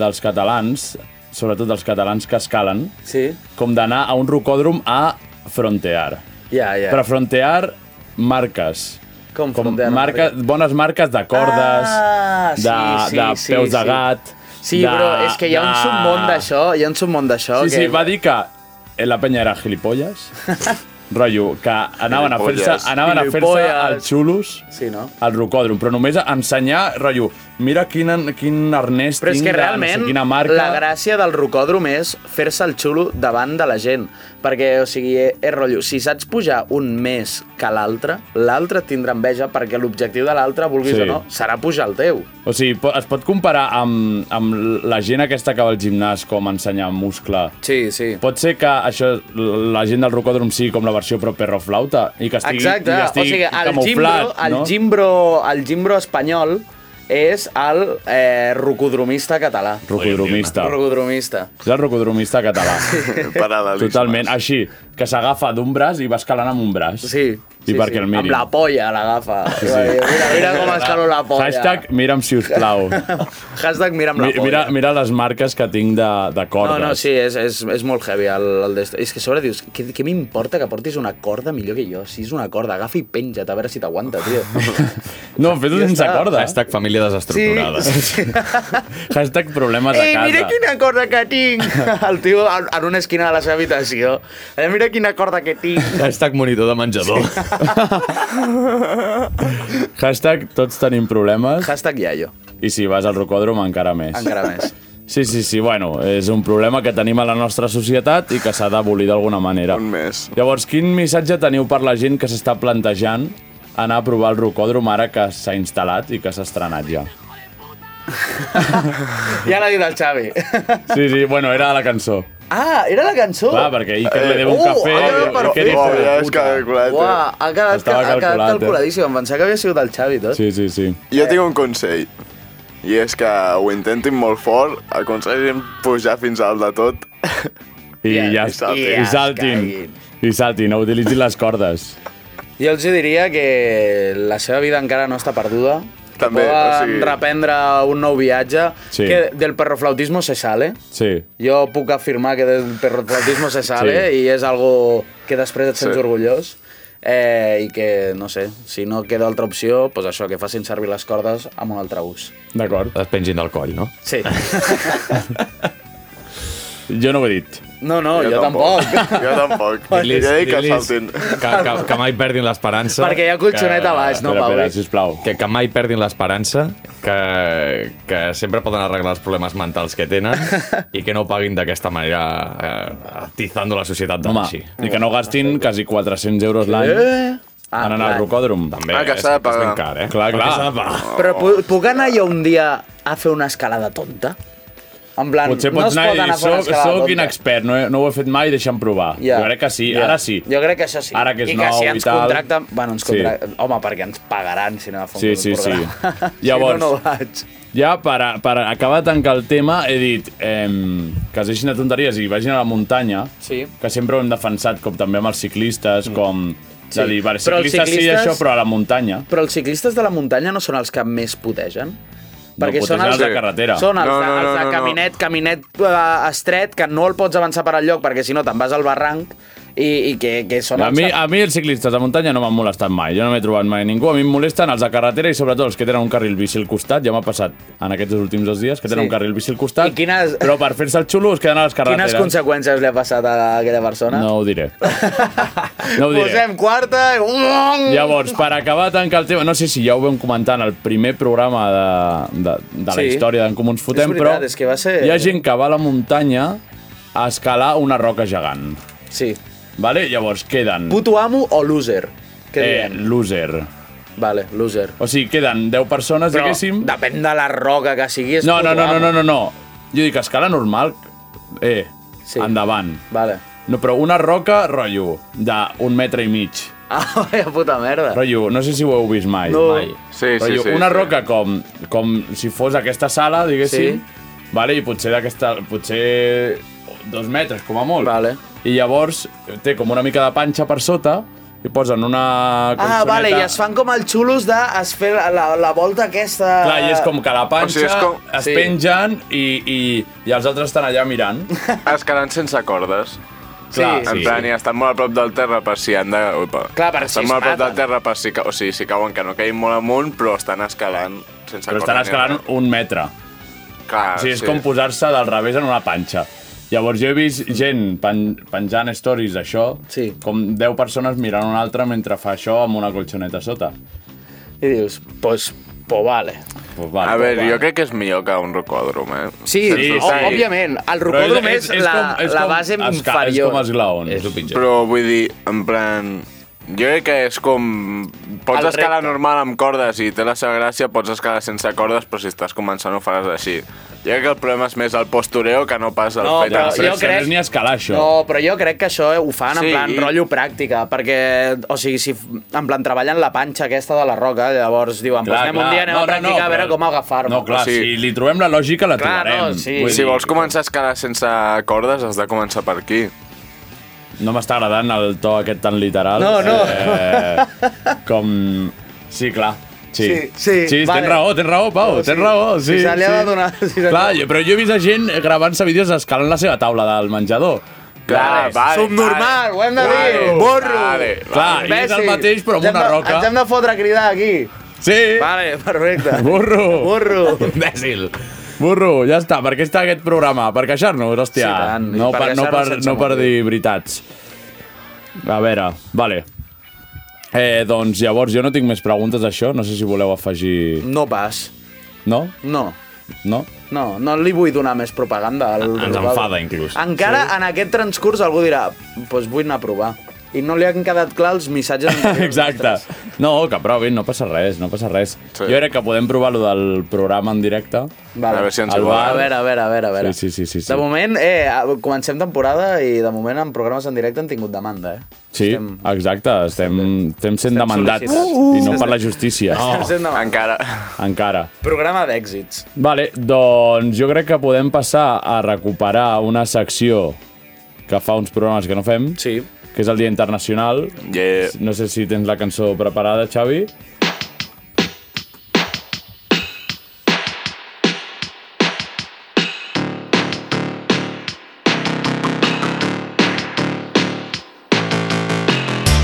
[SPEAKER 3] dels catalans, sobretot dels catalans que escalen,
[SPEAKER 9] Sí.
[SPEAKER 3] com d'anar a un rocòdrom a frontear.
[SPEAKER 9] Ja, ja.
[SPEAKER 3] Però frontear marques.
[SPEAKER 9] Com
[SPEAKER 3] Com
[SPEAKER 9] frontear
[SPEAKER 3] marca,
[SPEAKER 9] marques?
[SPEAKER 3] bones marques de cordes,
[SPEAKER 9] Ah, sí,
[SPEAKER 3] de,
[SPEAKER 9] sí,
[SPEAKER 3] de
[SPEAKER 9] sí,
[SPEAKER 3] peus de
[SPEAKER 9] sí.
[SPEAKER 3] gat...
[SPEAKER 9] Sí,
[SPEAKER 3] de,
[SPEAKER 9] però és que hi ha un
[SPEAKER 3] de-
[SPEAKER 9] submón d'això, hi ha un submón d'això.
[SPEAKER 3] Sí,
[SPEAKER 9] que...
[SPEAKER 3] sí, va dir que la penya era gilipolles, rotllo, que anaven a fer-se
[SPEAKER 7] Gilipolles.
[SPEAKER 3] anaven a fer-se
[SPEAKER 9] Gilipolles.
[SPEAKER 3] els xulos
[SPEAKER 9] Sí, no?
[SPEAKER 3] al rocòdrom, però només a ensenyar, rotllo, mira quin, quin arnès
[SPEAKER 9] Però és
[SPEAKER 3] tinc,
[SPEAKER 9] que
[SPEAKER 3] de no
[SPEAKER 9] realment
[SPEAKER 3] sé quina marca...
[SPEAKER 9] la gràcia del rocòdrom és fer-se el xulo davant de la gent. Perquè, o sigui, és, és rotllo, si saps pujar un més que l'altre, l'altre et tindrà enveja perquè l'objectiu de l'altre, vulguis
[SPEAKER 3] Sí.
[SPEAKER 9] sí. o no, serà pujar el teu.
[SPEAKER 3] O sigui, po- es pot comparar amb, amb la gent aquesta que va al gimnàs com a ensenyar muscle?
[SPEAKER 9] Sí, sí.
[SPEAKER 3] Pot ser que això, l- la gent del rocòdrom sigui com la versió però perroflauta i que estigui, i
[SPEAKER 9] Exacte,
[SPEAKER 3] que
[SPEAKER 9] o
[SPEAKER 3] estigui
[SPEAKER 9] sigui, el
[SPEAKER 3] camuflat,
[SPEAKER 9] gimbro, el,
[SPEAKER 3] no?
[SPEAKER 9] gimbro, el gimbro espanyol és el eh, rocodromista català.
[SPEAKER 3] Rocodromista.
[SPEAKER 9] Rocodromista.
[SPEAKER 3] És el rocodromista català.
[SPEAKER 7] Paral·lelismes.
[SPEAKER 3] Totalment, així, que s'agafa d'un braç i va escalant amb un braç.
[SPEAKER 9] Sí.
[SPEAKER 3] I
[SPEAKER 9] sí,
[SPEAKER 3] perquè
[SPEAKER 9] sí.
[SPEAKER 3] el mirin.
[SPEAKER 9] Amb la polla l'agafa. Sí,
[SPEAKER 3] sí.
[SPEAKER 9] sí. Mira, mira com escalo la polla.
[SPEAKER 3] Hashtag mira'm si us plau.
[SPEAKER 9] Hashtag mira'm la
[SPEAKER 3] Mi,
[SPEAKER 9] polla.
[SPEAKER 3] mira, mira les marques que tinc de, de
[SPEAKER 9] No,
[SPEAKER 3] cordes.
[SPEAKER 9] no, sí, és, és, és molt heavy el, el d'esto. És que a sobre dius, què, què m'importa que portis una corda millor que jo? Si és una corda, agafa i penja't a veure si t'aguanta, tio.
[SPEAKER 3] No, fes-ho
[SPEAKER 9] Ja
[SPEAKER 3] sense
[SPEAKER 9] està.
[SPEAKER 3] corda.
[SPEAKER 10] Hashtag família desestructurada.
[SPEAKER 9] sí.
[SPEAKER 3] Hashtag problemes a
[SPEAKER 9] Ei,
[SPEAKER 3] casa.
[SPEAKER 9] Eh, mira quina corda que tinc! El tio en, en una esquina de la seva habitació. Eh, mira quina corda que tinc!
[SPEAKER 10] Hashtag monitor de menjador.
[SPEAKER 3] Hashtag tots tenim problemes
[SPEAKER 9] Hashtag iaio,
[SPEAKER 3] i si vas al rocòdrom encara més.
[SPEAKER 9] encara més.
[SPEAKER 3] Sí, sí, sí, bueno, és un problema que tenim a la nostra societat i que s'ha d'abolir d'alguna manera.
[SPEAKER 7] Un més.
[SPEAKER 3] Llavors, quin missatge teniu per la gent que s'està plantejant anar a provar el rocòdrom ara que s'ha instal·lat i que s'ha estrenat ja?
[SPEAKER 9] Ja l'ha dit el Xavi.
[SPEAKER 3] Sí, sí, bueno, era la cançó.
[SPEAKER 9] Ah, era la cançó!
[SPEAKER 3] Clar, perquè Iker li deu un
[SPEAKER 9] Uh,
[SPEAKER 3] cafè...
[SPEAKER 9] ara,
[SPEAKER 3] i
[SPEAKER 9] però-
[SPEAKER 3] Iker hi
[SPEAKER 9] Oh,
[SPEAKER 3] fa de
[SPEAKER 7] ja eh, és
[SPEAKER 3] puta.
[SPEAKER 7] calculat.
[SPEAKER 9] Uah, ha quedat,
[SPEAKER 3] Estava
[SPEAKER 9] ha quedat
[SPEAKER 3] calculat, eh?
[SPEAKER 9] calculadíssim. Em pensava que havia sigut el Xavi, tot.
[SPEAKER 3] Sí, sí, sí.
[SPEAKER 7] Jo tinc un consell, i és que ho intentin molt fort, aconseguim pujar fins al de tot.
[SPEAKER 3] I
[SPEAKER 9] Ja,
[SPEAKER 3] ja,
[SPEAKER 7] i saltin.
[SPEAKER 3] i saltin.
[SPEAKER 9] Ja es caguin.
[SPEAKER 3] I saltin, no utilitzin les cordes.
[SPEAKER 9] Jo els diria que la seva vida encara no està perduda, que
[SPEAKER 7] També,
[SPEAKER 9] poden
[SPEAKER 7] o sigui-
[SPEAKER 9] reprendre un nou viatge,
[SPEAKER 3] Sí.
[SPEAKER 9] que del perroflautismo se sale.
[SPEAKER 3] Sí.
[SPEAKER 9] Jo puc afirmar que del perroflautismo se sale
[SPEAKER 3] Sí.
[SPEAKER 9] i és algo que després et sents
[SPEAKER 7] Sí.
[SPEAKER 9] orgullós. Eh, i que, no sé, si no queda altra opció, doncs això, que facin servir les cordes amb un altre ús.
[SPEAKER 3] D'acord.
[SPEAKER 10] Es pengin del coll, no?
[SPEAKER 9] Sí.
[SPEAKER 3] Jo no ho he dit.
[SPEAKER 9] No, no, jo, tampoc.
[SPEAKER 7] Jo tampoc. Jo
[SPEAKER 10] Dilis-
[SPEAKER 7] dic que
[SPEAKER 10] dilis
[SPEAKER 7] saltin.
[SPEAKER 10] Que, que, que mai perdin l'esperança.
[SPEAKER 9] Perquè hi ha colxoneta a baix, no,
[SPEAKER 3] espera,
[SPEAKER 9] Pau?
[SPEAKER 3] espera, sisplau.
[SPEAKER 10] Que, que mai perdin l'esperança, que, que sempre poden arreglar els problemes mentals que tenen i que no ho paguin d'aquesta manera eh, atizando la societat de
[SPEAKER 3] Home,
[SPEAKER 10] així.
[SPEAKER 3] i que no gastin quasi 400 euros l'any
[SPEAKER 9] Eh?
[SPEAKER 3] ah, en anar
[SPEAKER 9] clar.
[SPEAKER 3] al rocòdrom. També.
[SPEAKER 7] Ah, que s'ha de pagar.
[SPEAKER 10] Car, eh?
[SPEAKER 3] Clar, clar.
[SPEAKER 10] Perquè s'ha de pagar.
[SPEAKER 9] Però pu- puc anar jo un dia a fer una escalada tonta? En plan,
[SPEAKER 3] Potser
[SPEAKER 9] no
[SPEAKER 3] pots
[SPEAKER 9] es
[SPEAKER 3] anar
[SPEAKER 9] pot
[SPEAKER 3] i dir,
[SPEAKER 9] anar a fer una
[SPEAKER 3] soc,
[SPEAKER 9] escalada
[SPEAKER 3] soc
[SPEAKER 9] tonta.
[SPEAKER 3] inexpert, no he, no ho he fet mai, deixa'm provar.
[SPEAKER 9] Ja.
[SPEAKER 3] Jo crec que sí,
[SPEAKER 9] Ja.
[SPEAKER 3] ara sí.
[SPEAKER 9] Jo crec que això sí.
[SPEAKER 3] Ara que és
[SPEAKER 9] I que si
[SPEAKER 3] nou i
[SPEAKER 9] ens
[SPEAKER 3] tal.
[SPEAKER 9] contracten... Bueno, ens
[SPEAKER 3] Sí.
[SPEAKER 9] contracten... Sí. Home, perquè ens pagaran si anem a fer un
[SPEAKER 3] Sí, sí, sí.
[SPEAKER 9] programa.
[SPEAKER 3] Llavors-
[SPEAKER 9] si no, no vaig.
[SPEAKER 3] Ja, per, a- per acabar de tancar el tema, he dit ehm, que es deixin de tonteries i vagin a la muntanya,
[SPEAKER 9] Sí. Mm.
[SPEAKER 3] que sempre ho hem defensat, com també amb els ciclistes, com... Sí. De
[SPEAKER 9] Sí.
[SPEAKER 3] dir, vale,
[SPEAKER 9] Però els
[SPEAKER 3] ciclistes, ciclistes sí,
[SPEAKER 9] ciclistes-
[SPEAKER 3] això, però a la muntanya.
[SPEAKER 9] Però els ciclistes de la muntanya no són els que més putegen? Perquè són
[SPEAKER 3] putegen
[SPEAKER 9] els,
[SPEAKER 3] els de carretera.
[SPEAKER 9] Són els,
[SPEAKER 7] No,
[SPEAKER 9] de,
[SPEAKER 7] no, no,
[SPEAKER 9] els de
[SPEAKER 7] no, no.
[SPEAKER 9] caminet, caminet eh, estret, que no el pots avançar per enlloc, perquè si no te'n vas al barranc i, i que, que són
[SPEAKER 3] A
[SPEAKER 9] els...
[SPEAKER 3] mi,
[SPEAKER 9] que-
[SPEAKER 3] a mi els ciclistes de muntanya no m'han molestat mai, jo no m'he trobat mai ningú. A mi em molesten els de carretera i sobretot els que tenen un carril bici al costat, ja m'ha passat en aquests dos últims dos dies, que tenen
[SPEAKER 9] Sí.
[SPEAKER 3] un carril bici al costat,
[SPEAKER 9] I quines-
[SPEAKER 3] però per fer-se el xulo es queden a les
[SPEAKER 9] Quines
[SPEAKER 3] carreteres.
[SPEAKER 9] conseqüències li ha passat a aquella persona?
[SPEAKER 3] No ho diré. No ho diré.
[SPEAKER 9] Posem quarta i...
[SPEAKER 3] Llavors, per acabar de tancar el tema, no sé si ja ho vam comentar en el primer programa de, de, de la
[SPEAKER 9] Sí.
[SPEAKER 3] història d'en Comú ens fotem,
[SPEAKER 9] És veritat,
[SPEAKER 3] però
[SPEAKER 9] és que va ser-
[SPEAKER 3] hi ha gent que va a la muntanya a escalar una roca gegant.
[SPEAKER 9] Sí.
[SPEAKER 3] Vale? Llavors queden
[SPEAKER 9] Puto amo o loser? Què
[SPEAKER 3] eh,
[SPEAKER 9] diem?
[SPEAKER 3] loser.
[SPEAKER 9] Vale, loser.
[SPEAKER 3] O sigui, queden 10 persones,
[SPEAKER 9] Però
[SPEAKER 3] diguéssim.
[SPEAKER 9] depèn de la roca que sigui, és
[SPEAKER 3] No, no,
[SPEAKER 9] puto
[SPEAKER 3] no, no,
[SPEAKER 9] amo.
[SPEAKER 3] no, no, no. Jo dic, escala normal, eh, sí.
[SPEAKER 9] Sí.
[SPEAKER 3] endavant.
[SPEAKER 9] Vale.
[SPEAKER 3] No, però una roca, rotllo, d'un metre i mig.
[SPEAKER 9] Ah, vaya puta merda.
[SPEAKER 3] Rotllo, no sé si ho heu vist mai.
[SPEAKER 9] No.
[SPEAKER 3] mai.
[SPEAKER 7] Sí, sí,
[SPEAKER 3] rotllo,
[SPEAKER 7] sí,
[SPEAKER 3] Una
[SPEAKER 7] sí.
[SPEAKER 3] roca com, com si fos aquesta sala, diguéssim, sí. vale, i potser d'aquesta... potser dos metres, com a molt.
[SPEAKER 9] Vale.
[SPEAKER 3] I llavors té com una mica de panxa per sota i posen una cançoneta...
[SPEAKER 9] Ah, vale, i es fan com els xulos de es fer la, la, la volta aquesta...
[SPEAKER 3] Clar, i és com que la panxa, o
[SPEAKER 7] O sigui,
[SPEAKER 3] sigui,
[SPEAKER 7] és com-
[SPEAKER 3] com... es
[SPEAKER 9] sí.
[SPEAKER 3] pengen i, i, i els altres estan allà mirant.
[SPEAKER 7] Es quedaran sense cordes.
[SPEAKER 9] Sí.
[SPEAKER 3] Clar,
[SPEAKER 7] En
[SPEAKER 3] sí.
[SPEAKER 7] plan, i estan molt a prop del terra per si han de... Upa.
[SPEAKER 9] Clar, per si
[SPEAKER 7] estan
[SPEAKER 9] es
[SPEAKER 7] molt a prop del
[SPEAKER 9] maten.
[SPEAKER 7] terra per si, ca- o sigui, si cauen, que no caiguin molt amunt, però estan escalant sense
[SPEAKER 3] Però estan
[SPEAKER 7] corda ni
[SPEAKER 3] escalant
[SPEAKER 7] res.
[SPEAKER 3] un metre.
[SPEAKER 7] Clar,
[SPEAKER 3] O sigui, és com posar-se del revés en una panxa. Llavors jo he vist gent pen penjant stories d'això,
[SPEAKER 9] Sí.
[SPEAKER 3] com 10 persones mirant una altra mentre fa això amb una colxoneta sota.
[SPEAKER 9] I dius, pues, pues vale.
[SPEAKER 3] Pues vale,
[SPEAKER 7] A veure,
[SPEAKER 3] vale.
[SPEAKER 7] jo crec que és millor que un rocòdrom, eh?
[SPEAKER 9] Sí,
[SPEAKER 3] Sí,
[SPEAKER 9] sí,
[SPEAKER 3] sí.
[SPEAKER 9] sí. òbviament. El
[SPEAKER 3] Però
[SPEAKER 9] rocòdrom és, és, és, la,
[SPEAKER 3] com- és
[SPEAKER 9] la
[SPEAKER 3] com
[SPEAKER 9] base
[SPEAKER 3] esca-
[SPEAKER 9] inferior.
[SPEAKER 3] És com esglaons.
[SPEAKER 10] És el pitjor.
[SPEAKER 7] Però vull dir, en plan... Jo crec que és com... Pots
[SPEAKER 9] El
[SPEAKER 7] escalar
[SPEAKER 9] repte.
[SPEAKER 7] normal amb cordes i té la seva gràcia, pots escalar sense cordes, però si estàs començant ho faràs així. Jo crec que el problema és més el postureo que no pas el
[SPEAKER 9] No,
[SPEAKER 7] fet...
[SPEAKER 9] però
[SPEAKER 7] de fer-se.
[SPEAKER 3] Però
[SPEAKER 9] jo
[SPEAKER 3] és que
[SPEAKER 9] crec-
[SPEAKER 3] No és ni escalar, això.
[SPEAKER 9] No, però jo crec que això eh, ho fan en
[SPEAKER 7] Sí.
[SPEAKER 9] plan rotllo pràctica, perquè, o sigui, si f- en plan treballen la panxa aquesta de la roca, llavors diuen, doncs anem un dia, anem a practicar a veure
[SPEAKER 3] però-
[SPEAKER 9] com agafar-me.
[SPEAKER 3] No, clar,
[SPEAKER 7] O
[SPEAKER 3] si
[SPEAKER 7] sigui-
[SPEAKER 3] li trobem la lògica, la
[SPEAKER 9] Clar,
[SPEAKER 3] trobarem.
[SPEAKER 9] no, sí.
[SPEAKER 3] Vull
[SPEAKER 7] Si
[SPEAKER 3] dir,
[SPEAKER 7] vols començar a escalar sense cordes, has de començar per aquí.
[SPEAKER 3] No m'està agradant el to aquest tan literal.
[SPEAKER 9] No, no.
[SPEAKER 3] Eh, com... Sí, clar. Sí,
[SPEAKER 9] Sí, sí,
[SPEAKER 3] sí
[SPEAKER 9] vale.
[SPEAKER 3] tens raó, tens raó, Pau,
[SPEAKER 9] No,
[SPEAKER 3] Oh, tens
[SPEAKER 9] sí.
[SPEAKER 3] raó. Sí,
[SPEAKER 9] Si se li ha
[SPEAKER 3] sí.
[SPEAKER 9] de donar- si se li ha
[SPEAKER 3] clar,
[SPEAKER 9] de-
[SPEAKER 3] jo, però jo he vist a gent gravant-se vídeos escalant la seva taula del menjador.
[SPEAKER 7] Clar, vale,
[SPEAKER 9] Subnormal,
[SPEAKER 7] vale,
[SPEAKER 9] ho hem de dir,
[SPEAKER 7] vale,
[SPEAKER 9] borro.
[SPEAKER 7] Vale,
[SPEAKER 3] Clar,
[SPEAKER 7] vale.
[SPEAKER 3] i és el mateix, però amb
[SPEAKER 9] Ens hem
[SPEAKER 3] una
[SPEAKER 9] de-
[SPEAKER 3] roca.
[SPEAKER 9] Ens hem de fotre a cridar aquí.
[SPEAKER 3] Sí,
[SPEAKER 9] Vale, perfecte.
[SPEAKER 3] burro,
[SPEAKER 9] Burro.
[SPEAKER 10] Imbècil.
[SPEAKER 3] burro, ja està. Per què està aquest programa? Per queixar-nos, hòstia.
[SPEAKER 9] Sí, tant, i
[SPEAKER 3] no,
[SPEAKER 9] per
[SPEAKER 3] per, no,
[SPEAKER 9] queixar-nos
[SPEAKER 3] per,
[SPEAKER 9] sense
[SPEAKER 3] no per
[SPEAKER 9] motiu.
[SPEAKER 3] dir veritats. A veure, vale. Eh, doncs llavors jo no tinc més preguntes d'això, no sé si voleu afegir...
[SPEAKER 9] No pas.
[SPEAKER 3] No?
[SPEAKER 9] No.
[SPEAKER 3] No?
[SPEAKER 9] No, no li vull donar més propaganda.
[SPEAKER 3] Ah,
[SPEAKER 9] Al
[SPEAKER 10] Ens
[SPEAKER 9] Rubalcaba.
[SPEAKER 10] enfada, inclús.
[SPEAKER 9] Encara sí. en aquest transcurs algú dirà, doncs pues vull anar a provar. I no li han quedat clar els missatges anteriors.
[SPEAKER 3] Exacte. No, que provin, no passa res, no passa res.
[SPEAKER 7] Sí.
[SPEAKER 3] Jo crec que podem provar lo del programa en directe.
[SPEAKER 9] Vale.
[SPEAKER 7] A veure si ens
[SPEAKER 3] El
[SPEAKER 7] ho
[SPEAKER 3] bar.
[SPEAKER 9] A veure, a veure, a veure. A veure.
[SPEAKER 3] Sí, sí, sí, sí, sí.
[SPEAKER 9] De moment, eh, comencem temporada i de moment en programes en directe han tingut demanda, eh?
[SPEAKER 3] Sí,
[SPEAKER 9] Estem-
[SPEAKER 3] exacte, estem, estem sent demandats
[SPEAKER 9] sol·licitats.
[SPEAKER 3] i no per la justícia,
[SPEAKER 9] Estem sent demanda.
[SPEAKER 7] Encara.
[SPEAKER 3] encara.
[SPEAKER 9] Programa d'èxits.
[SPEAKER 3] Vale, doncs jo crec que podem passar a recuperar una secció que fa uns programes que no fem,
[SPEAKER 9] Sí.
[SPEAKER 3] que és el Dia Internacional.
[SPEAKER 7] Yeah.
[SPEAKER 3] No sé si tens la cançó preparada, Xavi.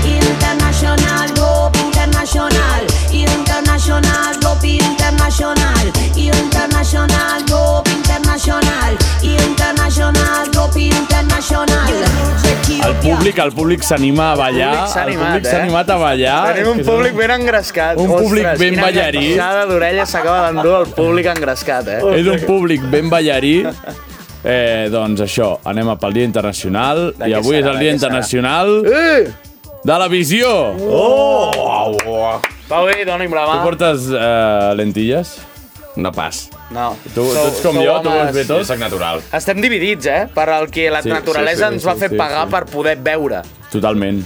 [SPEAKER 2] Internacional, Bob Internacional, Internacional, Bob Internacional, Internacional, Bob Internacional, Internacional, Bob Internacional.
[SPEAKER 3] El públic, el públic s'anima a ballar.
[SPEAKER 9] públic s'ha
[SPEAKER 3] el
[SPEAKER 9] animat,
[SPEAKER 3] públic s'ha
[SPEAKER 9] eh?
[SPEAKER 3] animat a ballar.
[SPEAKER 9] Tenim un
[SPEAKER 3] És que
[SPEAKER 9] públic
[SPEAKER 3] és
[SPEAKER 9] ben engrescat.
[SPEAKER 3] Un públic ben
[SPEAKER 9] quina
[SPEAKER 3] ballarí.
[SPEAKER 9] llaçada d'orella s'acaba d'endur el públic engrescat, eh?
[SPEAKER 3] un, és un públic ben ballarí. Eh, doncs això, anem a pel Dia Internacional.
[SPEAKER 9] De
[SPEAKER 3] I
[SPEAKER 9] què
[SPEAKER 3] avui
[SPEAKER 9] serà,
[SPEAKER 3] és el
[SPEAKER 9] de
[SPEAKER 3] Dia
[SPEAKER 9] què
[SPEAKER 3] Internacional
[SPEAKER 9] Eh!
[SPEAKER 3] de la visió. Oh.
[SPEAKER 9] Pau, eh, doni'm la mà.
[SPEAKER 3] Tu portes eh, lentilles?
[SPEAKER 10] No pas.
[SPEAKER 9] No.
[SPEAKER 3] Tu, tu ets com jo, tu veus bé
[SPEAKER 10] És
[SPEAKER 3] tot?
[SPEAKER 10] sac natural.
[SPEAKER 9] Estem dividits, eh? Per al que la
[SPEAKER 3] Sí,
[SPEAKER 9] sí,
[SPEAKER 3] sí,
[SPEAKER 9] naturalesa
[SPEAKER 3] sí,
[SPEAKER 9] ens va
[SPEAKER 3] sí,
[SPEAKER 9] fer
[SPEAKER 3] sí,
[SPEAKER 9] pagar
[SPEAKER 3] sí.
[SPEAKER 9] per poder veure.
[SPEAKER 3] Totalment.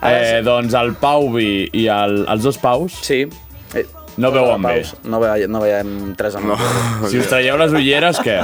[SPEAKER 9] Ara
[SPEAKER 3] Eh, doncs el Pauvi i el, els dos Paus
[SPEAKER 9] Sí. Eh,
[SPEAKER 3] no veuen bé.
[SPEAKER 9] Paus, no, ve, no veiem tres amb... No.
[SPEAKER 3] Si us traieu les ulleres, què?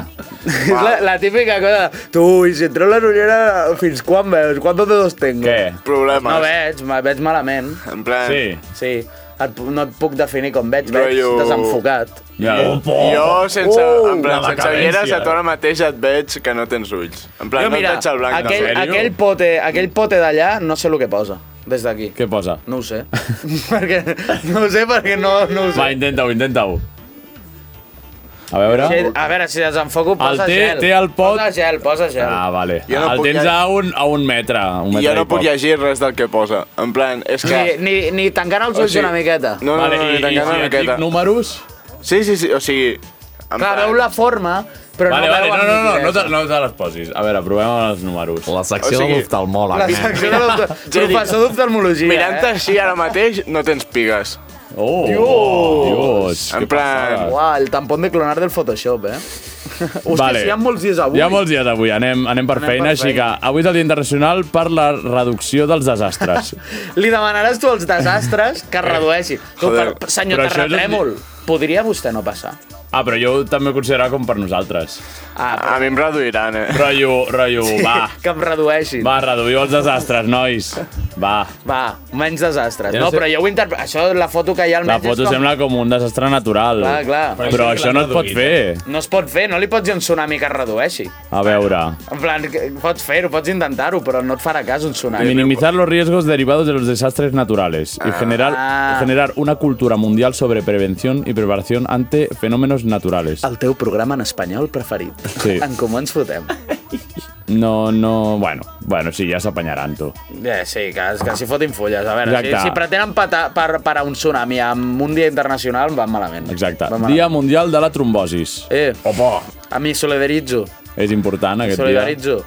[SPEAKER 9] És la, la típica cosa... de, Tu, i si et treu la ullera, fins quan veus? ¿Cuántos dedos tengo?
[SPEAKER 3] Què?
[SPEAKER 7] Problemes.
[SPEAKER 9] No eh? veig, me veig malament.
[SPEAKER 7] En plan...
[SPEAKER 3] Sí.
[SPEAKER 9] Sí. Et, pu- no et puc definir com veig, veig
[SPEAKER 7] Rotllo-
[SPEAKER 9] desenfocat.
[SPEAKER 3] Ja.
[SPEAKER 7] Jo, sense,
[SPEAKER 9] Uh,
[SPEAKER 7] en plan,
[SPEAKER 3] la
[SPEAKER 7] sense
[SPEAKER 3] decadència.
[SPEAKER 7] ulleres, a tu ara mateix et veig que no tens ulls. En plan, no et veig el blanc.
[SPEAKER 9] aquell,
[SPEAKER 3] sèrio?
[SPEAKER 9] aquell pote, aquell pote d'allà, no sé el que posa, des d'aquí.
[SPEAKER 3] Què posa?
[SPEAKER 9] No ho sé. perquè, no ho sé perquè no, no ho sé.
[SPEAKER 3] Va, intenta-ho, intenta-ho. A veure...
[SPEAKER 9] Sí, a veure, si desenfoco, posa
[SPEAKER 3] té-
[SPEAKER 9] gel.
[SPEAKER 3] té el pot-
[SPEAKER 9] Posa gel, posa gel.
[SPEAKER 3] Ah, vale.
[SPEAKER 7] Jo no
[SPEAKER 3] el
[SPEAKER 7] puc
[SPEAKER 3] tens
[SPEAKER 7] lleg-
[SPEAKER 3] a un, a un metre. Un
[SPEAKER 7] No,
[SPEAKER 3] metre
[SPEAKER 7] jo no
[SPEAKER 3] i
[SPEAKER 7] puc
[SPEAKER 3] poc.
[SPEAKER 7] llegir res del que posa. En plan, és que...
[SPEAKER 9] Ni, ni, ni tancant els ulls
[SPEAKER 7] sigui,
[SPEAKER 9] una miqueta.
[SPEAKER 7] No, no,
[SPEAKER 3] Vale,
[SPEAKER 7] no,
[SPEAKER 3] i,
[SPEAKER 7] ni
[SPEAKER 3] i
[SPEAKER 7] tancant
[SPEAKER 3] si
[SPEAKER 7] una
[SPEAKER 3] et
[SPEAKER 7] miqueta.
[SPEAKER 3] dic números...
[SPEAKER 7] Sí, sí, sí, o sigui...
[SPEAKER 9] Clar,
[SPEAKER 7] en plan-
[SPEAKER 9] veu la forma, però
[SPEAKER 3] vale,
[SPEAKER 9] no
[SPEAKER 3] vale,
[SPEAKER 9] veu
[SPEAKER 3] no,
[SPEAKER 9] amb
[SPEAKER 3] no, no, no,
[SPEAKER 9] nitidesa.
[SPEAKER 3] te, no te les posis. A veure, provem amb els números.
[SPEAKER 10] La secció
[SPEAKER 7] O sigui,
[SPEAKER 10] de l'oftalmòleg.
[SPEAKER 9] La
[SPEAKER 10] nen.
[SPEAKER 9] secció de l'ofta-
[SPEAKER 7] Geri.
[SPEAKER 9] professor d'oftalmologia,
[SPEAKER 7] Mirant-te
[SPEAKER 9] eh?
[SPEAKER 7] així ara mateix, no tens pigues.
[SPEAKER 3] Oh, Dios,
[SPEAKER 7] En
[SPEAKER 3] què
[SPEAKER 7] plan-
[SPEAKER 3] passada.
[SPEAKER 9] Uau, el tampón de clonar del Photoshop, eh? Hosti,
[SPEAKER 3] Vale.
[SPEAKER 9] si hi ha molts dies avui.
[SPEAKER 3] Hi ha molts dies avui, anem, anem per
[SPEAKER 9] Anem
[SPEAKER 3] feina,
[SPEAKER 9] per
[SPEAKER 3] així que
[SPEAKER 9] feina.
[SPEAKER 3] avui és el Dia Internacional per la reducció dels desastres.
[SPEAKER 9] Li demanaràs tu als desastres que es redueixi. Tu,
[SPEAKER 7] Joder.
[SPEAKER 9] per, senyor
[SPEAKER 3] Eh, Però això és un
[SPEAKER 9] Terratrèmol, podria vostè no passar?
[SPEAKER 3] Ah, però jo ho també ho considerava com per nosaltres.
[SPEAKER 9] Ah,
[SPEAKER 7] A mi em reduiran, eh?
[SPEAKER 3] Rotllo, rotllo, sí. va.
[SPEAKER 9] Que em redueixin.
[SPEAKER 3] Va, reduïu els desastres, nois. Va.
[SPEAKER 9] Va, menys desastres.
[SPEAKER 3] Jo no
[SPEAKER 9] no,
[SPEAKER 3] sé-
[SPEAKER 9] però jo ho interpreto... Això, la foto que hi ha al
[SPEAKER 3] La
[SPEAKER 9] mig és
[SPEAKER 3] foto
[SPEAKER 9] com-
[SPEAKER 3] sembla com un desastre natural.
[SPEAKER 9] Clar, clar.
[SPEAKER 3] Però, però això no et pot fer.
[SPEAKER 9] No es pot fer, no li pots dir a un tsunami que es redueixi.
[SPEAKER 3] A veure.
[SPEAKER 9] En plan, que- pots fer-ho, pots intentar-ho, però no et farà cas un tsunami.
[SPEAKER 3] Minimizar los riesgos derivados de los desastres naturales y generar,
[SPEAKER 9] Ah.
[SPEAKER 3] generar una cultura mundial sobre prevención y preparación ante fenómenos naturales.
[SPEAKER 9] El teu programa en espanyol preferit.
[SPEAKER 3] Sí.
[SPEAKER 9] En comú ens fotem.
[SPEAKER 3] No, no... Bueno, bueno sí, ja s'apanyaran, tu.
[SPEAKER 9] Eh, sí, que, que s'hi fotin fulles. A veure, si,
[SPEAKER 3] Exacte.
[SPEAKER 9] si pretenen patar, per, parar un tsunami amb un dia internacional, van malament.
[SPEAKER 3] Exacte.
[SPEAKER 9] Van malament.
[SPEAKER 3] Dia Mundial de la Trombosis.
[SPEAKER 9] Eh,
[SPEAKER 3] Opa!
[SPEAKER 9] a mi solidaritzo.
[SPEAKER 3] És important aquest dia.
[SPEAKER 9] Solidaritzo.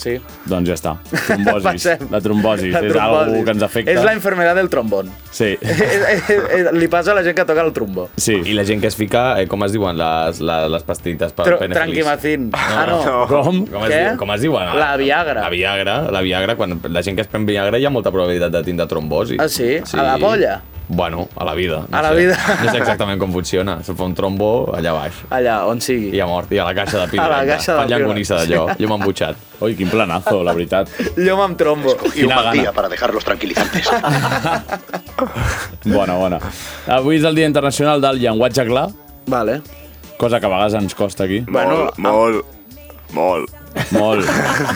[SPEAKER 9] Sí.
[SPEAKER 3] Doncs ja està. Trombosis.
[SPEAKER 9] Passem.
[SPEAKER 3] la trombosis.
[SPEAKER 9] La
[SPEAKER 3] és
[SPEAKER 9] trombosis.
[SPEAKER 3] algo que ens afecta.
[SPEAKER 9] És la enfermedad del trombón. Eh,
[SPEAKER 3] Sí.
[SPEAKER 9] Li passa a la gent que toca el trombó.
[SPEAKER 3] Sí.
[SPEAKER 10] I la gent que es fica, eh, com es diuen les, les, les pastillites per
[SPEAKER 9] Tro
[SPEAKER 10] pene feliç?
[SPEAKER 9] Tranquimacin. Ah, no.
[SPEAKER 7] no.
[SPEAKER 3] Com?
[SPEAKER 10] Com es,
[SPEAKER 9] Què?
[SPEAKER 10] diu- com es diuen? ara?
[SPEAKER 9] La Viagra.
[SPEAKER 10] La Viagra, la Viagra, quan la gent que es pren Viagra hi ha molta probabilitat de tindre trombosi.
[SPEAKER 9] Ah, sí? A la polla?
[SPEAKER 10] Bueno, a la vida.
[SPEAKER 9] A la
[SPEAKER 10] sé.
[SPEAKER 9] vida.
[SPEAKER 10] No sé exactament com funciona. Se fa un trombó allà baix.
[SPEAKER 9] Allà, on sigui.
[SPEAKER 10] I a mort, i a la caixa de
[SPEAKER 9] A
[SPEAKER 10] pibra.
[SPEAKER 9] la caixa de
[SPEAKER 10] Fan
[SPEAKER 9] pibra.
[SPEAKER 10] llangonissa d'allò. Jo m'he embutxat.
[SPEAKER 3] Ui, quin planazo, la veritat.
[SPEAKER 9] Llom amb trombo.
[SPEAKER 3] Y Quina gana.
[SPEAKER 4] para dejarlos tranquilizantes.
[SPEAKER 3] Bona, bona. Avui és el Dia Internacional del Llenguatge Clar,
[SPEAKER 9] Vale.
[SPEAKER 3] cosa que a vegades ens costa aquí.
[SPEAKER 9] ah.
[SPEAKER 7] Molt, molt, molt,
[SPEAKER 3] Molt,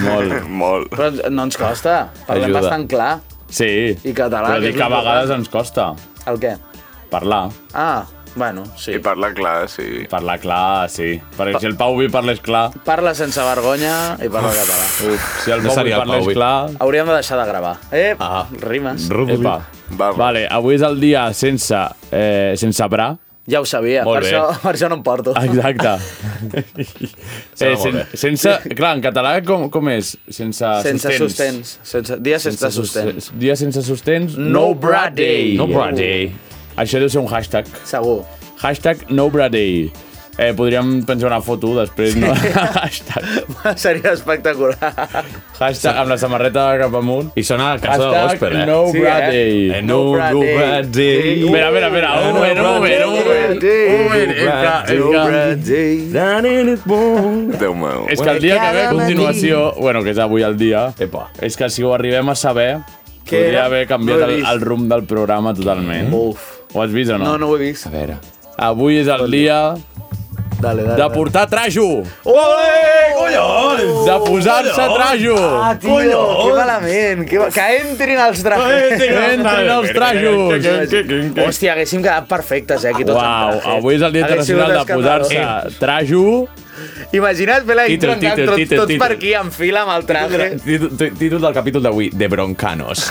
[SPEAKER 3] molt.
[SPEAKER 7] molt.
[SPEAKER 9] Però ens- no ens costa. Parlem
[SPEAKER 10] Ajuda.
[SPEAKER 9] bastant clar.
[SPEAKER 3] Sí,
[SPEAKER 9] I català,
[SPEAKER 3] però
[SPEAKER 9] que
[SPEAKER 3] dic
[SPEAKER 9] és
[SPEAKER 3] que a
[SPEAKER 9] important.
[SPEAKER 3] vegades ens costa
[SPEAKER 9] El què?
[SPEAKER 3] parlar.
[SPEAKER 9] Ah, bueno, sí.
[SPEAKER 7] I parla clar, sí.
[SPEAKER 3] Parlar clar, sí. Perquè si el Pau Vi parlés clar...
[SPEAKER 9] Parla sense vergonya i parla català.
[SPEAKER 3] Uf, si el
[SPEAKER 10] No
[SPEAKER 3] Pau Vi
[SPEAKER 10] seria el Pau
[SPEAKER 3] parlés
[SPEAKER 10] Vi.
[SPEAKER 3] clar...
[SPEAKER 9] Hauríem de deixar de gravar. Eh,
[SPEAKER 10] Ah.
[SPEAKER 9] rimes.
[SPEAKER 3] Epa.
[SPEAKER 7] Vamos.
[SPEAKER 3] Vale, avui és el dia sense, eh, sense bra.
[SPEAKER 9] Ja ho sabia,
[SPEAKER 3] Molt
[SPEAKER 9] per
[SPEAKER 3] bé.
[SPEAKER 9] això, per això no em porto.
[SPEAKER 3] Exacte. eh,
[SPEAKER 10] Sona molt
[SPEAKER 3] sen,
[SPEAKER 10] bé.
[SPEAKER 3] sense, clar, en català com, com és? Sense,
[SPEAKER 9] Sense sostens. Sense, dia sense,
[SPEAKER 3] Ah, Sense
[SPEAKER 9] sostens.
[SPEAKER 3] sostens. Dia sense sostens.
[SPEAKER 9] No bra day.
[SPEAKER 3] No bra
[SPEAKER 10] Uh.
[SPEAKER 3] day. Això deu ser un hashtag.
[SPEAKER 9] Segur.
[SPEAKER 3] Hashtag no bra day. Eh, podríem pensar una foto després, no? hashtag.
[SPEAKER 9] Seria espectacular.
[SPEAKER 3] Hashtag amb la samarreta cap amunt.
[SPEAKER 10] I sona a casa de
[SPEAKER 3] Hashtag
[SPEAKER 10] l'Òsper, eh?
[SPEAKER 3] no
[SPEAKER 9] Sí,
[SPEAKER 3] bra
[SPEAKER 9] eh?
[SPEAKER 3] day.
[SPEAKER 10] Eh, no,
[SPEAKER 9] No bra
[SPEAKER 10] no
[SPEAKER 9] day.
[SPEAKER 10] bra day.
[SPEAKER 3] Mira, mira, mira.
[SPEAKER 9] Ah,
[SPEAKER 3] Un moment, un moment, un moment. Un moment. És que, és que,
[SPEAKER 7] Déu meu.
[SPEAKER 3] és que el dia que ve a continuació, bueno, que és avui el dia, Epa. és que si ho arribem a saber,
[SPEAKER 9] Què
[SPEAKER 3] podria
[SPEAKER 9] era?
[SPEAKER 3] haver canviat
[SPEAKER 9] No he
[SPEAKER 3] el,
[SPEAKER 9] vist.
[SPEAKER 3] el rumb del programa totalment.
[SPEAKER 9] Uf.
[SPEAKER 3] Ho has vist o no?
[SPEAKER 9] No, no ho he vist.
[SPEAKER 3] A veure. Avui és el dia
[SPEAKER 9] Dale, dale.
[SPEAKER 3] de portar trajo.
[SPEAKER 9] Ole,
[SPEAKER 3] De posar-se trajo.
[SPEAKER 9] Ah, tio, que malament. Que, que entrin els dracs.
[SPEAKER 3] Entren els trajos.
[SPEAKER 9] Hòstia, haguéssim quedat perfectes, eh, aquí tots
[SPEAKER 3] Uau,
[SPEAKER 9] amb trajes.
[SPEAKER 3] avui és el dia
[SPEAKER 9] Hagués sigut
[SPEAKER 3] internacional de
[SPEAKER 9] escandalós.
[SPEAKER 3] posar-se trajo.
[SPEAKER 9] Eh, Imagina't fer la intro
[SPEAKER 10] Títol,
[SPEAKER 9] entrant
[SPEAKER 10] títol,
[SPEAKER 9] tots,
[SPEAKER 10] títol,
[SPEAKER 9] tots
[SPEAKER 10] títol.
[SPEAKER 9] per aquí en fila amb el traje.
[SPEAKER 10] Títol, tí- títol del capítol d'avui, de Broncanos.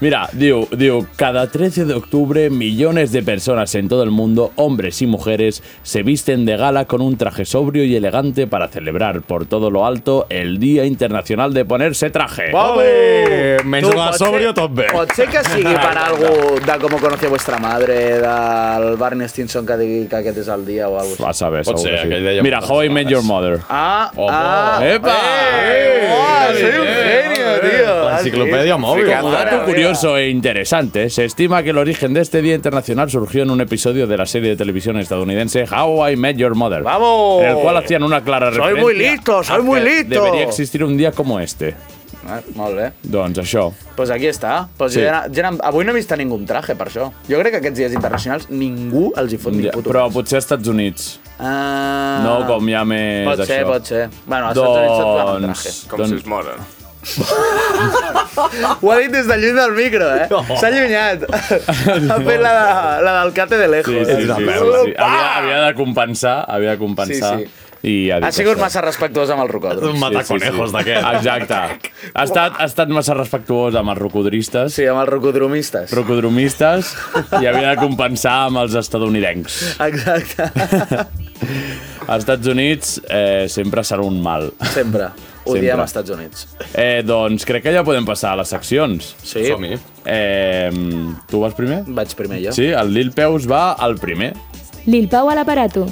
[SPEAKER 3] Mira, diu, diu, cada 13 de octubre millones de personas en todo el mundo, hombres y mujeres, se visten de gala con un traje sobrio y elegante para celebrar por todo lo alto el Día Internacional de Ponerse Traje.
[SPEAKER 10] Ole! Menys
[SPEAKER 9] Tu,
[SPEAKER 10] la
[SPEAKER 9] pot
[SPEAKER 10] sòbria,
[SPEAKER 9] ser-
[SPEAKER 10] tot bé.
[SPEAKER 9] Pot ser que sigui per algú de com conocí a vuestra madre, del Barney Stinson que digui que aquest és el dia o alguna
[SPEAKER 3] Va
[SPEAKER 9] cosa.
[SPEAKER 3] saber,
[SPEAKER 10] Pot
[SPEAKER 3] segur
[SPEAKER 10] ser,
[SPEAKER 3] que sí.
[SPEAKER 10] aquell deia
[SPEAKER 3] Mira,
[SPEAKER 10] moltes
[SPEAKER 3] How I Met
[SPEAKER 10] vegades.
[SPEAKER 3] Your Mother.
[SPEAKER 9] Ah,
[SPEAKER 10] Oh,
[SPEAKER 9] ah,
[SPEAKER 3] ¡Epa!
[SPEAKER 9] eh, oh, soy un
[SPEAKER 10] Eh,
[SPEAKER 9] genio, tío.
[SPEAKER 10] L'enciclopèdia mòbil.
[SPEAKER 3] Como dato curioso e interesante, se estima que el origen de este Día Internacional surgió en un episodio de la serie de televisión estadounidense How I Met Your Mother.
[SPEAKER 9] ¡Vamos!
[SPEAKER 3] En el cual hacían una clara
[SPEAKER 9] Oh. Soy
[SPEAKER 3] referencia.
[SPEAKER 9] muy listo, soy
[SPEAKER 3] a
[SPEAKER 9] muy
[SPEAKER 3] que
[SPEAKER 9] listo.
[SPEAKER 3] Debería existir un día como este.
[SPEAKER 9] Ah, molt bé.
[SPEAKER 3] Doncs això.
[SPEAKER 9] Pues aquí està. Pues
[SPEAKER 3] Sí.
[SPEAKER 9] sí. ja, ja, avui no he vist a ningú amb traje, per això. Jo crec que aquests dies internacionals ningú els hi fot ni
[SPEAKER 3] Ja,
[SPEAKER 9] puto.
[SPEAKER 3] però potser als Estats Units.
[SPEAKER 9] Ah,
[SPEAKER 3] No com ja més
[SPEAKER 9] Pot ser,
[SPEAKER 3] això.
[SPEAKER 9] pot ser. Bueno, als Estats Units et fan amb traje.
[SPEAKER 3] Doncs...
[SPEAKER 7] Com si
[SPEAKER 3] doncs
[SPEAKER 7] es moren.
[SPEAKER 9] Ho ha dit des de lluny del micro, eh? S'ha allunyat. ha fet la, de- la del Cate de lejos.
[SPEAKER 3] sí, sí, sí, sí, sí, sí. Havia, havia de compensar, havia de compensar.
[SPEAKER 9] Ah. Sí, sí.
[SPEAKER 3] I ha dit
[SPEAKER 9] Ha sigut
[SPEAKER 3] això.
[SPEAKER 9] massa respectuós amb el rocòdrom.
[SPEAKER 10] Un mataconejos d'aquest.
[SPEAKER 3] Exacte. Ha estat, ha estat massa respectuós amb els rocodristes,
[SPEAKER 9] Sí, amb els rocodromistes.
[SPEAKER 3] rocodromistes, i havia de compensar amb els estadounidencs.
[SPEAKER 9] Exacte.
[SPEAKER 3] Als Estats Units eh, sempre serà un mal.
[SPEAKER 9] Sempre.
[SPEAKER 3] Sempre.
[SPEAKER 9] Odiem als Estats Units.
[SPEAKER 3] Eh, doncs crec que ja podem passar a les seccions.
[SPEAKER 9] Sí,
[SPEAKER 10] Som-hi.
[SPEAKER 3] Eh, tu vas primer?
[SPEAKER 9] vaig primer jo.
[SPEAKER 3] Sí, el Lil Peus va al primer.
[SPEAKER 1] Lil Pau a l'aparato.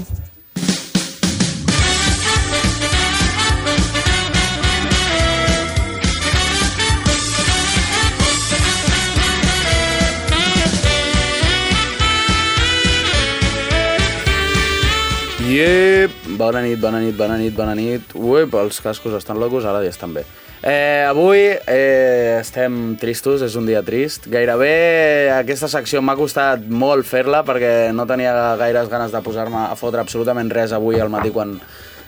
[SPEAKER 9] nit, bona nit, bona nit, bona nit. Ui, però els cascos estan locos, ara ja estan bé. Eh, avui eh, estem tristos, és un dia trist. Gairebé aquesta secció m'ha costat molt fer-la perquè no tenia gaires ganes de posar-me a fotre absolutament res avui al matí quan,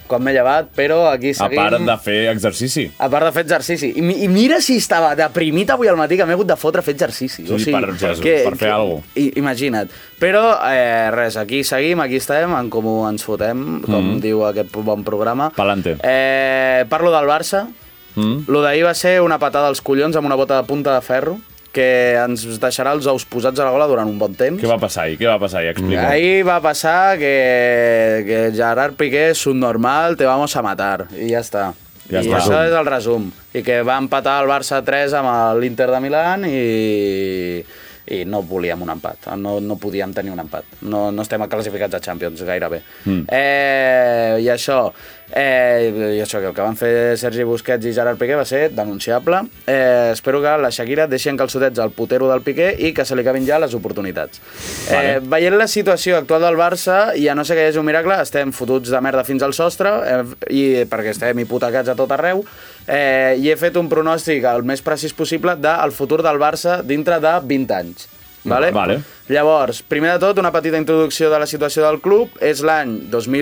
[SPEAKER 9] quan m'he llevat, però aquí
[SPEAKER 3] A
[SPEAKER 9] seguim.
[SPEAKER 3] part de fer exercici.
[SPEAKER 9] A part de fer exercici. I, mi- I mira si estava deprimit avui al matí, que m'he hagut de fotre a fer exercici.
[SPEAKER 3] Sí, per- per- per fer alguna cosa.
[SPEAKER 9] I, imagina't. Però, eh, res, aquí seguim, aquí estem, en comú ens fotem, com mm. diu aquest bon programa.
[SPEAKER 3] Mhm. Pa'lante.
[SPEAKER 9] Eh, parlo del Barça.
[SPEAKER 3] Mm?
[SPEAKER 9] Lo d'ahir va ser una patada als collons amb una bota de punta de ferro que ens deixarà els ous posats a la gola durant un bon temps.
[SPEAKER 3] Què va passar ahir? Què va passar ahir? Explica.
[SPEAKER 9] Ahir va passar que, que Gerard Piqué és un normal, te vamos a matar. I ja està.
[SPEAKER 3] Ja
[SPEAKER 9] Ja I
[SPEAKER 3] està.
[SPEAKER 9] això és el resum. I que va empatar el Barça 3 amb l'Inter de Milán i, i no volíem un empat. No, no podíem tenir un empat. No, no estem classificats a Champions gairebé. Mm. Eh, I això... Eh, I això que el que van fer Sergi Busquets i Gerard Piqué va ser denunciable. Eh, espero que la Shakira deixi encalçotets al putero del Piqué i que se li acabin ja les oportunitats.
[SPEAKER 3] Vale.
[SPEAKER 9] Eh, veient la situació actual del Barça, i a no ser que hi hagi un miracle, estem fotuts de merda fins al sostre, eh, i perquè estem hipotecats a tot arreu, eh, i he fet un pronòstic el més precís possible del futur del Barça dintre de 20 anys. Vale?
[SPEAKER 3] Vale.
[SPEAKER 9] Llavors, primer de tot, una petita introducció de la situació del club. És l'any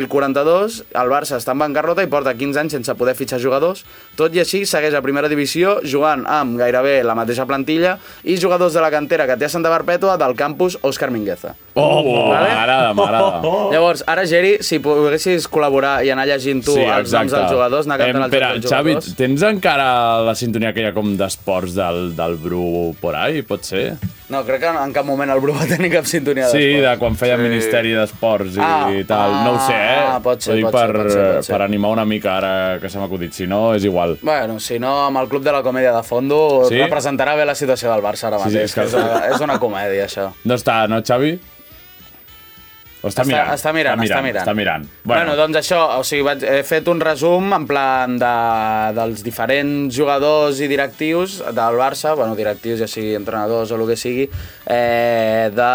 [SPEAKER 9] 2042, el Barça està en bancarrota i porta 15 anys sense poder fitxar jugadors. Tot i així, segueix a primera divisió jugant amb gairebé la mateixa plantilla i jugadors de la cantera que té a Santa Barpètua del campus Òscar Mingueza.
[SPEAKER 3] Oh, oh, m'agrada, m'agrada.
[SPEAKER 9] Llavors, ara, Geri, si poguessis col·laborar i anar llegint tu els noms dels jugadors, anar cantant
[SPEAKER 3] Em,
[SPEAKER 9] els
[SPEAKER 3] espera,
[SPEAKER 9] noms dels
[SPEAKER 3] Xavi,
[SPEAKER 9] jugadors...
[SPEAKER 3] tens encara la sintonia que hi ha com d'esports del, del Bru por ahí, pot ser?
[SPEAKER 9] No, crec que en cap moment el Bru va tenir cap sintonia
[SPEAKER 3] Sí, de
[SPEAKER 9] d'esports.
[SPEAKER 3] quan feia Ministeri d'Esports i,
[SPEAKER 9] Ah,
[SPEAKER 3] i tal. no ho sé, eh?
[SPEAKER 9] ah, pot ser,
[SPEAKER 3] Ho dic
[SPEAKER 9] pot
[SPEAKER 3] per,
[SPEAKER 9] ser, pot ser, pot ser.
[SPEAKER 3] per animar una mica ara que se m'ha acudit. Si no, és igual.
[SPEAKER 9] Bueno, si no, amb el Club de la Comèdia de Fondo
[SPEAKER 3] Sí?
[SPEAKER 9] sí? representarà bé la situació del Barça ara
[SPEAKER 3] Sí, sí,
[SPEAKER 9] mateix.
[SPEAKER 3] és
[SPEAKER 9] Sí,
[SPEAKER 3] que-
[SPEAKER 9] sí, és, que... és, una, és una comèdia, això.
[SPEAKER 3] No està, no, Xavi? O està,
[SPEAKER 9] Està-
[SPEAKER 3] mirant?
[SPEAKER 9] està mirant, està mirant.
[SPEAKER 3] Està mirant.
[SPEAKER 9] Bueno, bueno doncs això, o sigui, vaig, he fet un resum en plan de, dels diferents jugadors i directius del Barça, bueno, directius, ja sigui entrenadors o el que sigui, eh, de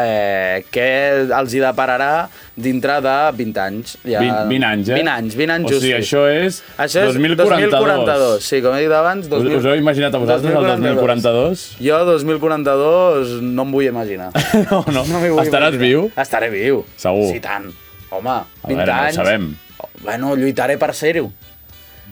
[SPEAKER 9] eh, què els hi depararà dintre de 20 anys. Ja,
[SPEAKER 3] 20, 20 anys, eh?
[SPEAKER 9] 20 anys, 20 anys
[SPEAKER 3] O sigui,
[SPEAKER 9] justos.
[SPEAKER 3] això és,
[SPEAKER 9] Això és
[SPEAKER 3] 2042.
[SPEAKER 9] 2042, sí, com he dit abans...
[SPEAKER 3] Us,
[SPEAKER 9] 2000
[SPEAKER 3] us heu imaginat a vosaltres 2042. el 2042?
[SPEAKER 9] Jo 2042 no em vull imaginar.
[SPEAKER 3] No, no.
[SPEAKER 9] m'hi vull
[SPEAKER 3] Estaràs viu?
[SPEAKER 9] Estaré viu.
[SPEAKER 3] Segur.
[SPEAKER 9] Sí, tant. Home, 20
[SPEAKER 3] veure, no ho
[SPEAKER 9] anys...
[SPEAKER 3] sabem.
[SPEAKER 9] Bueno, lluitaré per ser-ho.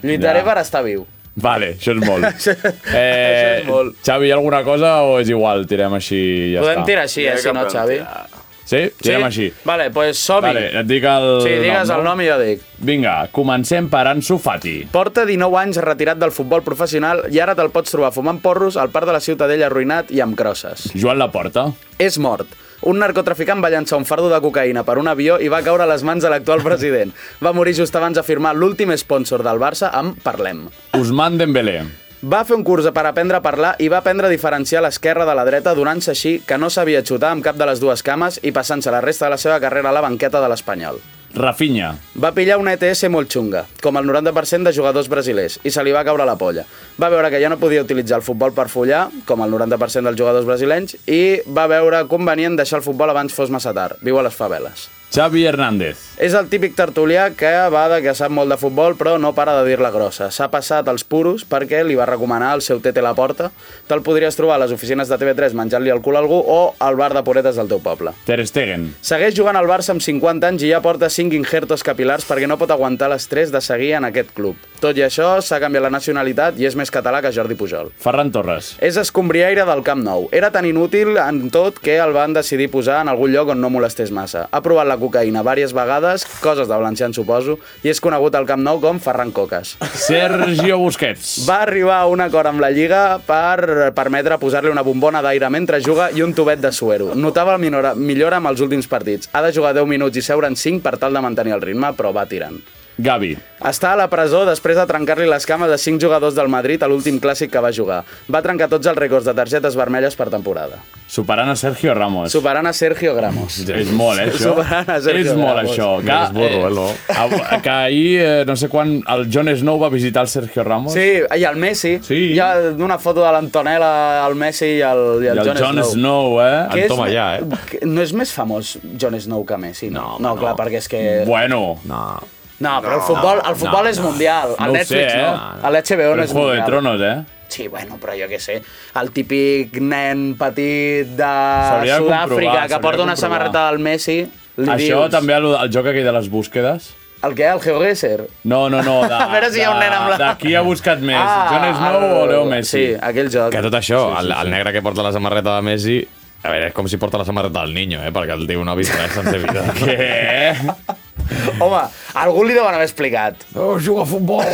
[SPEAKER 9] Lluitaré
[SPEAKER 3] Ja.
[SPEAKER 9] ja. per estar viu.
[SPEAKER 3] Vale, això és molt. Eh,
[SPEAKER 9] Això- això és molt.
[SPEAKER 3] Xavi, hi ha alguna cosa o és igual? Tirem així i ja
[SPEAKER 9] Podem
[SPEAKER 3] està.
[SPEAKER 9] tirar així,
[SPEAKER 7] Ja
[SPEAKER 9] eh, si
[SPEAKER 7] que
[SPEAKER 9] no,
[SPEAKER 7] podem
[SPEAKER 9] Xavi?
[SPEAKER 7] tirar.
[SPEAKER 3] Sí? Tirem així.
[SPEAKER 9] Vale, doncs pues som-hi.
[SPEAKER 3] Vale, et dic el
[SPEAKER 9] sí, digues
[SPEAKER 3] nom,
[SPEAKER 9] el nom i jo dic.
[SPEAKER 3] Vinga, comencem per Ansu Fati.
[SPEAKER 9] Porta 19 anys retirat del futbol professional i ara te'l pots trobar fumant porros al parc de la Ciutadella arruïnat i amb crosses.
[SPEAKER 3] Joan Laporta.
[SPEAKER 9] És mort. Un narcotraficant va llançar un fardo de cocaïna per un avió i va caure a les mans de l'actual president. Va morir just abans de firmar l'últim sponsor del Barça amb Parlem.
[SPEAKER 3] Usman Dembélé.
[SPEAKER 9] Va fer un curs per aprendre a parlar i va aprendre a diferenciar l'esquerra de la dreta donant-se així que no sabia xutar amb cap de les dues cames i passant-se la resta de la seva carrera a la banqueta de l'Espanyol.
[SPEAKER 3] Rafinha.
[SPEAKER 9] Va pillar una ETS molt xunga, com el 90% de jugadors brasilers, i se li va caure la polla. Va veure que ja no podia utilitzar el futbol per follar, com el 90% dels jugadors brasilenys, i va veure convenient deixar el futbol abans fos massa tard. Viu a les faveles.
[SPEAKER 3] Xavi Hernández.
[SPEAKER 9] És el típic tertulià que va de que sap molt de futbol però no para de dir-la grossa. S'ha passat als puros perquè li va recomanar el seu tete a la porta. Te'l podries trobar a les oficines de TV3 menjant-li el cul a algú o al bar de puretes del teu poble.
[SPEAKER 3] Ter Stegen.
[SPEAKER 9] Segueix jugant al Barça amb 50 anys i ja porta 5 injertos capilars perquè no pot aguantar l'estrès de seguir en aquest club. Tot i això, s'ha canviat la nacionalitat i és més català que Jordi Pujol.
[SPEAKER 3] Ferran Torres.
[SPEAKER 9] És escombriaire del Camp Nou. Era tan inútil en tot que el van decidir posar en algun lloc on no molestés massa. Ha provat la cocaïna diverses vegades, coses de valencians suposo, i és conegut al Camp Nou com Ferran Coques.
[SPEAKER 3] Sergio Busquets.
[SPEAKER 9] Va arribar a un acord amb la Lliga per permetre posar-li una bombona d'aire mentre juga i un tubet de suero. Notava el minora, millora amb els últims partits. Ha de jugar 10 minuts i seure en 5 per tal de mantenir el ritme, però va tirant.
[SPEAKER 3] Gavi.
[SPEAKER 9] Està a la presó després de trencar-li les cames a 5 jugadors del Madrid a l'últim clàssic que va jugar. Va trencar tots els rècords de targetes vermelles per temporada.
[SPEAKER 3] Superant a Sergio Ramos.
[SPEAKER 9] Superant a Sergio Gramos.
[SPEAKER 3] És molt, eh, això?
[SPEAKER 9] Superant a Sergio
[SPEAKER 3] És molt,
[SPEAKER 9] Ramos.
[SPEAKER 3] això.
[SPEAKER 10] No és burro, eh, no?
[SPEAKER 3] av- que ahir, eh, no sé quan, el Jon Snow va visitar el Sergio Ramos.
[SPEAKER 9] Sí, i el Messi.
[SPEAKER 3] Sí.
[SPEAKER 9] Hi ha una foto de l'Antonella, el Messi i el, i
[SPEAKER 3] I
[SPEAKER 9] el,
[SPEAKER 3] el Jon Snow. eh?
[SPEAKER 9] Que
[SPEAKER 10] En Tom allà, eh?
[SPEAKER 9] que No és més famós Jon Snow que Messi, no?
[SPEAKER 10] No, home,
[SPEAKER 9] no, clar,
[SPEAKER 10] no.
[SPEAKER 9] perquè és que...
[SPEAKER 3] Bueno,
[SPEAKER 10] No.
[SPEAKER 9] No, però el futbol, el futbol és mundial.
[SPEAKER 3] No ho
[SPEAKER 9] El Netflix
[SPEAKER 3] sé, eh?
[SPEAKER 9] no. El HBO
[SPEAKER 3] Però
[SPEAKER 9] no
[SPEAKER 3] és
[SPEAKER 9] és
[SPEAKER 3] Juego de
[SPEAKER 9] mundial.
[SPEAKER 3] Tronos, eh?
[SPEAKER 9] Sí, bueno, però jo què sé. El típic nen petit de
[SPEAKER 3] S'hauria de comprovar,
[SPEAKER 9] Sud-àfrica
[SPEAKER 3] s'hauria
[SPEAKER 9] que
[SPEAKER 3] de
[SPEAKER 9] porta una
[SPEAKER 3] comprovar.
[SPEAKER 9] samarreta del Messi, li
[SPEAKER 3] Això
[SPEAKER 9] dius...
[SPEAKER 3] també el, el joc aquell de les búsquedes?
[SPEAKER 9] El què? El GeoGuessr?
[SPEAKER 3] No, no, no. De,
[SPEAKER 9] A veure si hi ha un nen amb la- Ah,
[SPEAKER 3] De qui ha buscat més, Jon Snow
[SPEAKER 9] el-
[SPEAKER 3] o Leo Messi?
[SPEAKER 9] Sí, aquell joc.
[SPEAKER 7] Que tot això, el, el negre que porta la samarreta de Messi... A veure, és com si porta la samarreta del niño, eh? Perquè el tio no ha vist res sense vida.
[SPEAKER 3] Què?
[SPEAKER 9] Home, a algú li deuen haver explicat.
[SPEAKER 7] No, juga a futbol!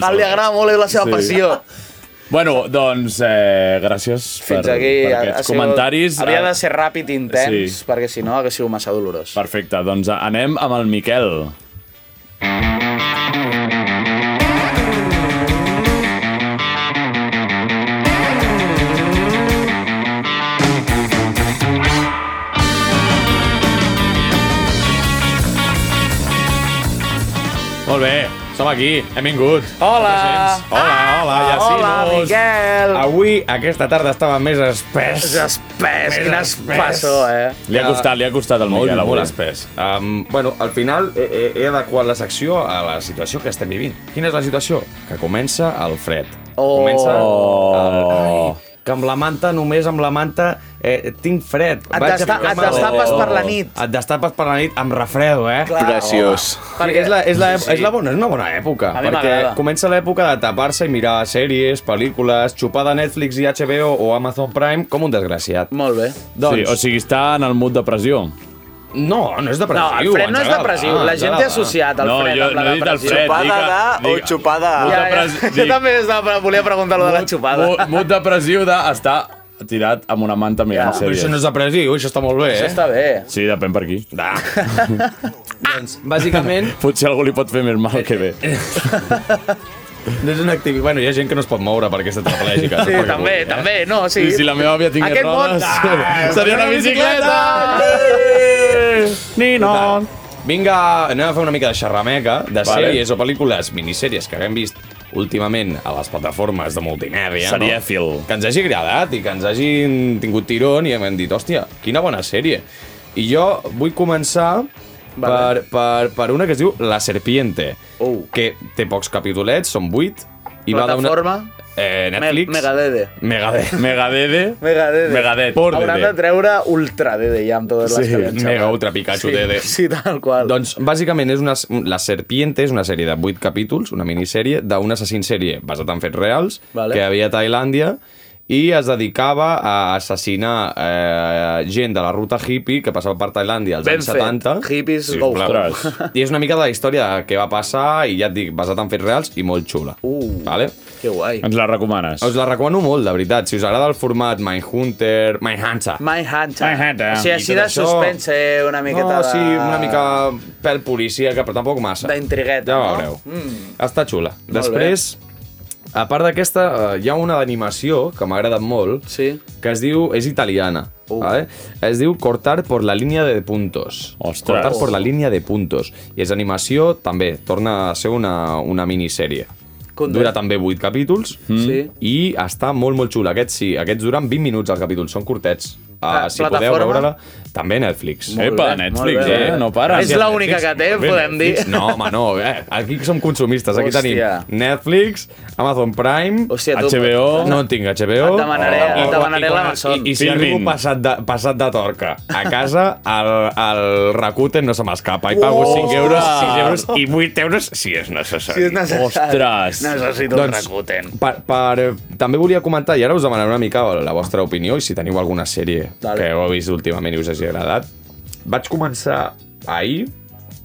[SPEAKER 9] No li agrada molt, és la seva
[SPEAKER 3] Sí.
[SPEAKER 9] sí. passió.
[SPEAKER 3] Bueno, doncs eh, gràcies
[SPEAKER 9] Fins
[SPEAKER 3] per,
[SPEAKER 9] aquí...
[SPEAKER 3] per
[SPEAKER 9] ha- ha
[SPEAKER 3] aquests
[SPEAKER 9] sigut-
[SPEAKER 3] comentaris. Ah,
[SPEAKER 9] Havia de ser ràpid i intens,
[SPEAKER 3] Sí.
[SPEAKER 9] sí. perquè si no hagués sigut massa dolorós.
[SPEAKER 3] Perfecte, doncs anem amb el Miquel.
[SPEAKER 7] Molt bé, som aquí, hem vingut.
[SPEAKER 9] Hola!
[SPEAKER 7] Hola, hola, ah,
[SPEAKER 9] hola, Miquel!
[SPEAKER 3] Ah,
[SPEAKER 7] Avui, aquesta tarda, estava més espès.
[SPEAKER 9] És espès,
[SPEAKER 7] Més
[SPEAKER 9] quin
[SPEAKER 7] espès.
[SPEAKER 9] espassó, eh?
[SPEAKER 3] Li ha
[SPEAKER 7] Ja.
[SPEAKER 3] costat, li ha costat el
[SPEAKER 7] Molt,
[SPEAKER 3] Miquel
[SPEAKER 7] molt
[SPEAKER 3] avui.
[SPEAKER 7] espès. Um, bueno, al final he, he, he adequat la secció a la situació que estem vivint. Quina és la situació? Que comença el fred.
[SPEAKER 9] Oh.
[SPEAKER 7] Comença el... Ai, que amb la manta, només amb la manta, eh, tinc fred.
[SPEAKER 9] Et
[SPEAKER 7] Vaig a
[SPEAKER 9] desta-
[SPEAKER 7] ficar-me
[SPEAKER 9] et destapes
[SPEAKER 7] al-
[SPEAKER 9] per la nit.
[SPEAKER 7] Et destapes per la nit, em refredo, eh?
[SPEAKER 9] Clar,
[SPEAKER 11] Preciós.
[SPEAKER 7] Perquè és la, és, la, és, la bona, és una bona època.
[SPEAKER 9] A mi
[SPEAKER 7] perquè
[SPEAKER 9] m'agrada.
[SPEAKER 7] comença l'època de tapar-se i mirar sèries, pel·lícules, xupar de Netflix i HBO o Amazon Prime com un desgraciat.
[SPEAKER 9] Molt bé.
[SPEAKER 7] Doncs,
[SPEAKER 3] Sí, o sigui, està en el mood depressió.
[SPEAKER 7] no, no és
[SPEAKER 9] No,
[SPEAKER 7] depressiu.
[SPEAKER 9] el fred no
[SPEAKER 7] ens
[SPEAKER 9] és
[SPEAKER 7] agrada,
[SPEAKER 9] depressiu. La
[SPEAKER 7] ens
[SPEAKER 9] gent té
[SPEAKER 7] agrada.
[SPEAKER 9] associat el
[SPEAKER 3] No,
[SPEAKER 9] fred
[SPEAKER 3] jo
[SPEAKER 9] amb
[SPEAKER 3] no
[SPEAKER 9] la
[SPEAKER 3] he dit el
[SPEAKER 9] depressió.
[SPEAKER 3] fred.
[SPEAKER 11] Xupada
[SPEAKER 3] Diga-
[SPEAKER 11] de
[SPEAKER 3] diga-
[SPEAKER 11] o xupada a.
[SPEAKER 9] Ja,
[SPEAKER 3] Molta
[SPEAKER 9] ja.
[SPEAKER 3] pres-
[SPEAKER 9] Jo
[SPEAKER 3] dic-
[SPEAKER 9] també estava, volia preguntar lo de la xupada.
[SPEAKER 3] Mood, mood depressiu d'estar tirat amb una manta mirant
[SPEAKER 9] Ja.
[SPEAKER 7] Però
[SPEAKER 3] sèries.
[SPEAKER 7] això no és depressiu, això està molt bé,
[SPEAKER 9] Això
[SPEAKER 7] eh?
[SPEAKER 9] està bé.
[SPEAKER 3] Sí, depèn per qui.
[SPEAKER 7] Ah. doncs, bàsicament,
[SPEAKER 3] Potser algú li pot fer més mal que bé.
[SPEAKER 7] no és una activitat... Bueno, hi ha gent que no es pot moure perquè és tetraplègica.
[SPEAKER 9] Sí, també, també, no, sí.
[SPEAKER 3] I si la meva àvia tingués
[SPEAKER 9] Aquest món-
[SPEAKER 3] rodes,
[SPEAKER 9] Ah,
[SPEAKER 3] seria una
[SPEAKER 9] una
[SPEAKER 3] bicicleta! Ni no!
[SPEAKER 7] Vinga, anem a fer una mica de xerrameca de
[SPEAKER 3] Vale.
[SPEAKER 7] sèries o pel·lícules, minissèries que haguem vist últimament a les plataformes de multimèdia.
[SPEAKER 3] Serièfil.
[SPEAKER 7] No? Que ens hagi agradat i que ens hagin tingut tirón i hem dit, hòstia, quina bona sèrie. I jo vull començar per, per, per una que es diu La Serpiente,
[SPEAKER 9] Oh.
[SPEAKER 7] que té pocs capitulets, són 8, i va d'una...
[SPEAKER 9] Plataforma?
[SPEAKER 7] Eh, Netflix.
[SPEAKER 9] Me- Megadede.
[SPEAKER 7] Megadede.
[SPEAKER 3] Megadede.
[SPEAKER 9] Megadede.
[SPEAKER 3] Megadet.
[SPEAKER 7] Por
[SPEAKER 9] Hauran de
[SPEAKER 7] Dede.
[SPEAKER 9] treure Ultra Dede ja amb totes les
[SPEAKER 7] Sí,
[SPEAKER 9] que hi ha, xaval.
[SPEAKER 7] mega ultra Pikachu
[SPEAKER 9] sí,
[SPEAKER 7] Dede.
[SPEAKER 9] Sí, tal qual.
[SPEAKER 7] Doncs, bàsicament, és una, La Serpiente és una sèrie de 8 capítols, una minissèrie d'un assassí en sèrie basat en fets reals,
[SPEAKER 9] Vale.
[SPEAKER 7] que havia a Tailàndia, i es dedicava a assassinar eh, gent de la ruta hippie que passava per Tailàndia als
[SPEAKER 9] Ben
[SPEAKER 7] anys
[SPEAKER 9] fet.
[SPEAKER 7] 70.
[SPEAKER 9] Hippies go
[SPEAKER 7] clar.
[SPEAKER 9] home.
[SPEAKER 3] Ostres.
[SPEAKER 7] I és una mica de la història de què va passar, i ja et dic, basat en fets reals i molt xula.
[SPEAKER 9] Uh.
[SPEAKER 7] Vale?
[SPEAKER 9] Que guai.
[SPEAKER 3] Ens la recomanes.
[SPEAKER 7] Us la recomano molt, de veritat. Si us agrada el format Mindhunter... Mindhunter.
[SPEAKER 9] Mindhunter.
[SPEAKER 3] Mindhunter.
[SPEAKER 9] O sigui,
[SPEAKER 7] I
[SPEAKER 9] així
[SPEAKER 7] tot
[SPEAKER 9] de
[SPEAKER 7] això-
[SPEAKER 9] suspense, eh, una miqueta
[SPEAKER 7] no,
[SPEAKER 9] de...
[SPEAKER 7] sí, una mica pèl policia, que però tampoc massa.
[SPEAKER 9] D'intrigueta,
[SPEAKER 7] ja
[SPEAKER 9] no?
[SPEAKER 7] veureu.
[SPEAKER 9] Mm.
[SPEAKER 7] Està xula. Després, a part d'aquesta, eh, hi ha una d'animació que m'ha agradat molt,
[SPEAKER 9] Sí.
[SPEAKER 7] que es diu... És italiana,
[SPEAKER 9] Uh.
[SPEAKER 7] vale? Es diu Cortar por la línea de puntos.
[SPEAKER 3] Ostres.
[SPEAKER 7] Cortar por la
[SPEAKER 9] Oh.
[SPEAKER 7] línea de puntos. I és animació, també, torna a ser una, una minissèrie.
[SPEAKER 9] Conté.
[SPEAKER 7] Dura també 8 capítols
[SPEAKER 9] Mm. Sí.
[SPEAKER 7] i està molt, molt xula. Aquests sí, aquests duren 20 minuts al capítol, són curtets. Uh,
[SPEAKER 9] Ah,
[SPEAKER 7] si podeu
[SPEAKER 9] plataforma?
[SPEAKER 7] veure-la, també Netflix.
[SPEAKER 9] Molt
[SPEAKER 3] Epa,
[SPEAKER 9] bé,
[SPEAKER 3] Eh, Netflix,
[SPEAKER 9] molt bé.
[SPEAKER 3] eh? No para.
[SPEAKER 9] És l'única que té,
[SPEAKER 7] Molt bé,
[SPEAKER 9] podem dir.
[SPEAKER 7] Netflix. No, home, no. Eh? Aquí som consumistes. Aquí
[SPEAKER 9] Hòstia.
[SPEAKER 7] tenim Netflix, Amazon Prime...
[SPEAKER 9] Hòstia, tu...
[SPEAKER 3] HBO.
[SPEAKER 7] No en tinc HBO.
[SPEAKER 9] Et demanaré-
[SPEAKER 7] I quan-
[SPEAKER 9] et demanaré
[SPEAKER 7] i quan-
[SPEAKER 9] l'Amazon.
[SPEAKER 7] I, i si
[SPEAKER 3] Filmin.
[SPEAKER 7] arribo passat de, passat de torca a casa, el, el Rakuten no se m'escapa. I pago 5 euros, 6 euros i 8 euros si és necessari.
[SPEAKER 9] Si és necessari.
[SPEAKER 3] Ostres.
[SPEAKER 9] Necessito doncs... un Rakuten.
[SPEAKER 7] Per, per, també volia comentar, i ara us demanaré una mica la vostra opinió, i si teniu alguna sèrie
[SPEAKER 9] Dale.
[SPEAKER 7] que heu vist últimament i us hagi agradat. Vaig començar ahir,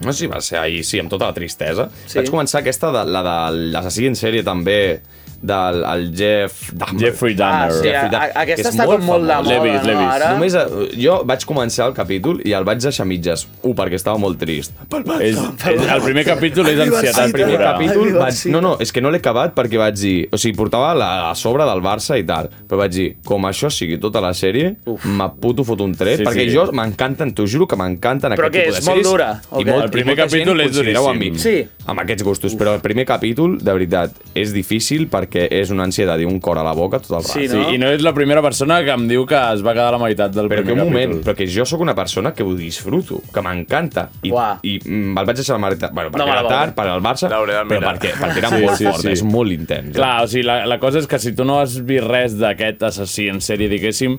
[SPEAKER 7] no sé si va ser ahir, sí, amb tota la tristesa,
[SPEAKER 9] Sí.
[SPEAKER 7] sí. vaig començar aquesta, de, la de l'assassí en sèrie també, del el Jeff Dahmer.
[SPEAKER 3] Jeffrey
[SPEAKER 9] Ah,
[SPEAKER 3] Dahmer.
[SPEAKER 9] sí, a, a,
[SPEAKER 7] Netflix.
[SPEAKER 9] aquesta
[SPEAKER 7] És
[SPEAKER 9] està
[SPEAKER 7] molt
[SPEAKER 9] com molt de
[SPEAKER 7] famós.
[SPEAKER 9] moda,
[SPEAKER 3] Levis,
[SPEAKER 9] no,
[SPEAKER 3] Levis.
[SPEAKER 9] ara?
[SPEAKER 7] Només, eh, jo vaig començar el capítol i el vaig deixar mitges. Un, perquè estava molt trist.
[SPEAKER 3] És, és, el primer capítol és ansietat
[SPEAKER 7] El primer
[SPEAKER 3] pura.
[SPEAKER 7] capítol vaig... No, no, és que no l'he acabat perquè vaig dir... O sigui, portava la, a sobre del Barça i tal, però vaig dir, com això sigui tota la sèrie, me puto fot un tret,
[SPEAKER 3] Sí,
[SPEAKER 7] sí, perquè
[SPEAKER 3] sí.
[SPEAKER 7] sí. jo m'encanten, t'ho juro que m'encanten
[SPEAKER 9] Però
[SPEAKER 7] aquest
[SPEAKER 9] què,
[SPEAKER 7] tipus de
[SPEAKER 9] és molt
[SPEAKER 7] sèries.
[SPEAKER 9] dura, o
[SPEAKER 7] I
[SPEAKER 9] què?
[SPEAKER 7] molt,
[SPEAKER 3] El primer
[SPEAKER 7] i molta gent
[SPEAKER 3] capítol és
[SPEAKER 7] coincidireu
[SPEAKER 3] duríssim.
[SPEAKER 7] Amb, mi,
[SPEAKER 9] Sí.
[SPEAKER 7] amb aquests gustos, però el primer capítol, de veritat, és difícil
[SPEAKER 10] perquè és una ansietat i un cor a la boca tot el rato.
[SPEAKER 9] Sí,
[SPEAKER 3] Sí,
[SPEAKER 9] no?
[SPEAKER 3] I no ets la primera persona que em diu que es va quedar a la meitat del
[SPEAKER 10] Però que
[SPEAKER 3] primer
[SPEAKER 10] un moment,
[SPEAKER 3] capítol.
[SPEAKER 10] però que jo sóc una persona que ho disfruto, que m'encanta. I,
[SPEAKER 9] Uah.
[SPEAKER 10] i mm, me'l vaig deixar a la meitat. Bueno, perquè
[SPEAKER 9] No me la
[SPEAKER 10] era
[SPEAKER 9] veuré.
[SPEAKER 10] tard, per al Barça,
[SPEAKER 7] L'hauré de
[SPEAKER 10] però
[SPEAKER 7] mirar.
[SPEAKER 10] perquè, perquè era
[SPEAKER 3] Sí,
[SPEAKER 10] molt
[SPEAKER 3] sí,
[SPEAKER 10] fort,
[SPEAKER 3] sí.
[SPEAKER 10] és molt intens. eh?
[SPEAKER 3] Clar, o sigui, la, la cosa és que si tu no has vist res d'aquest assassí en sèrie, diguéssim,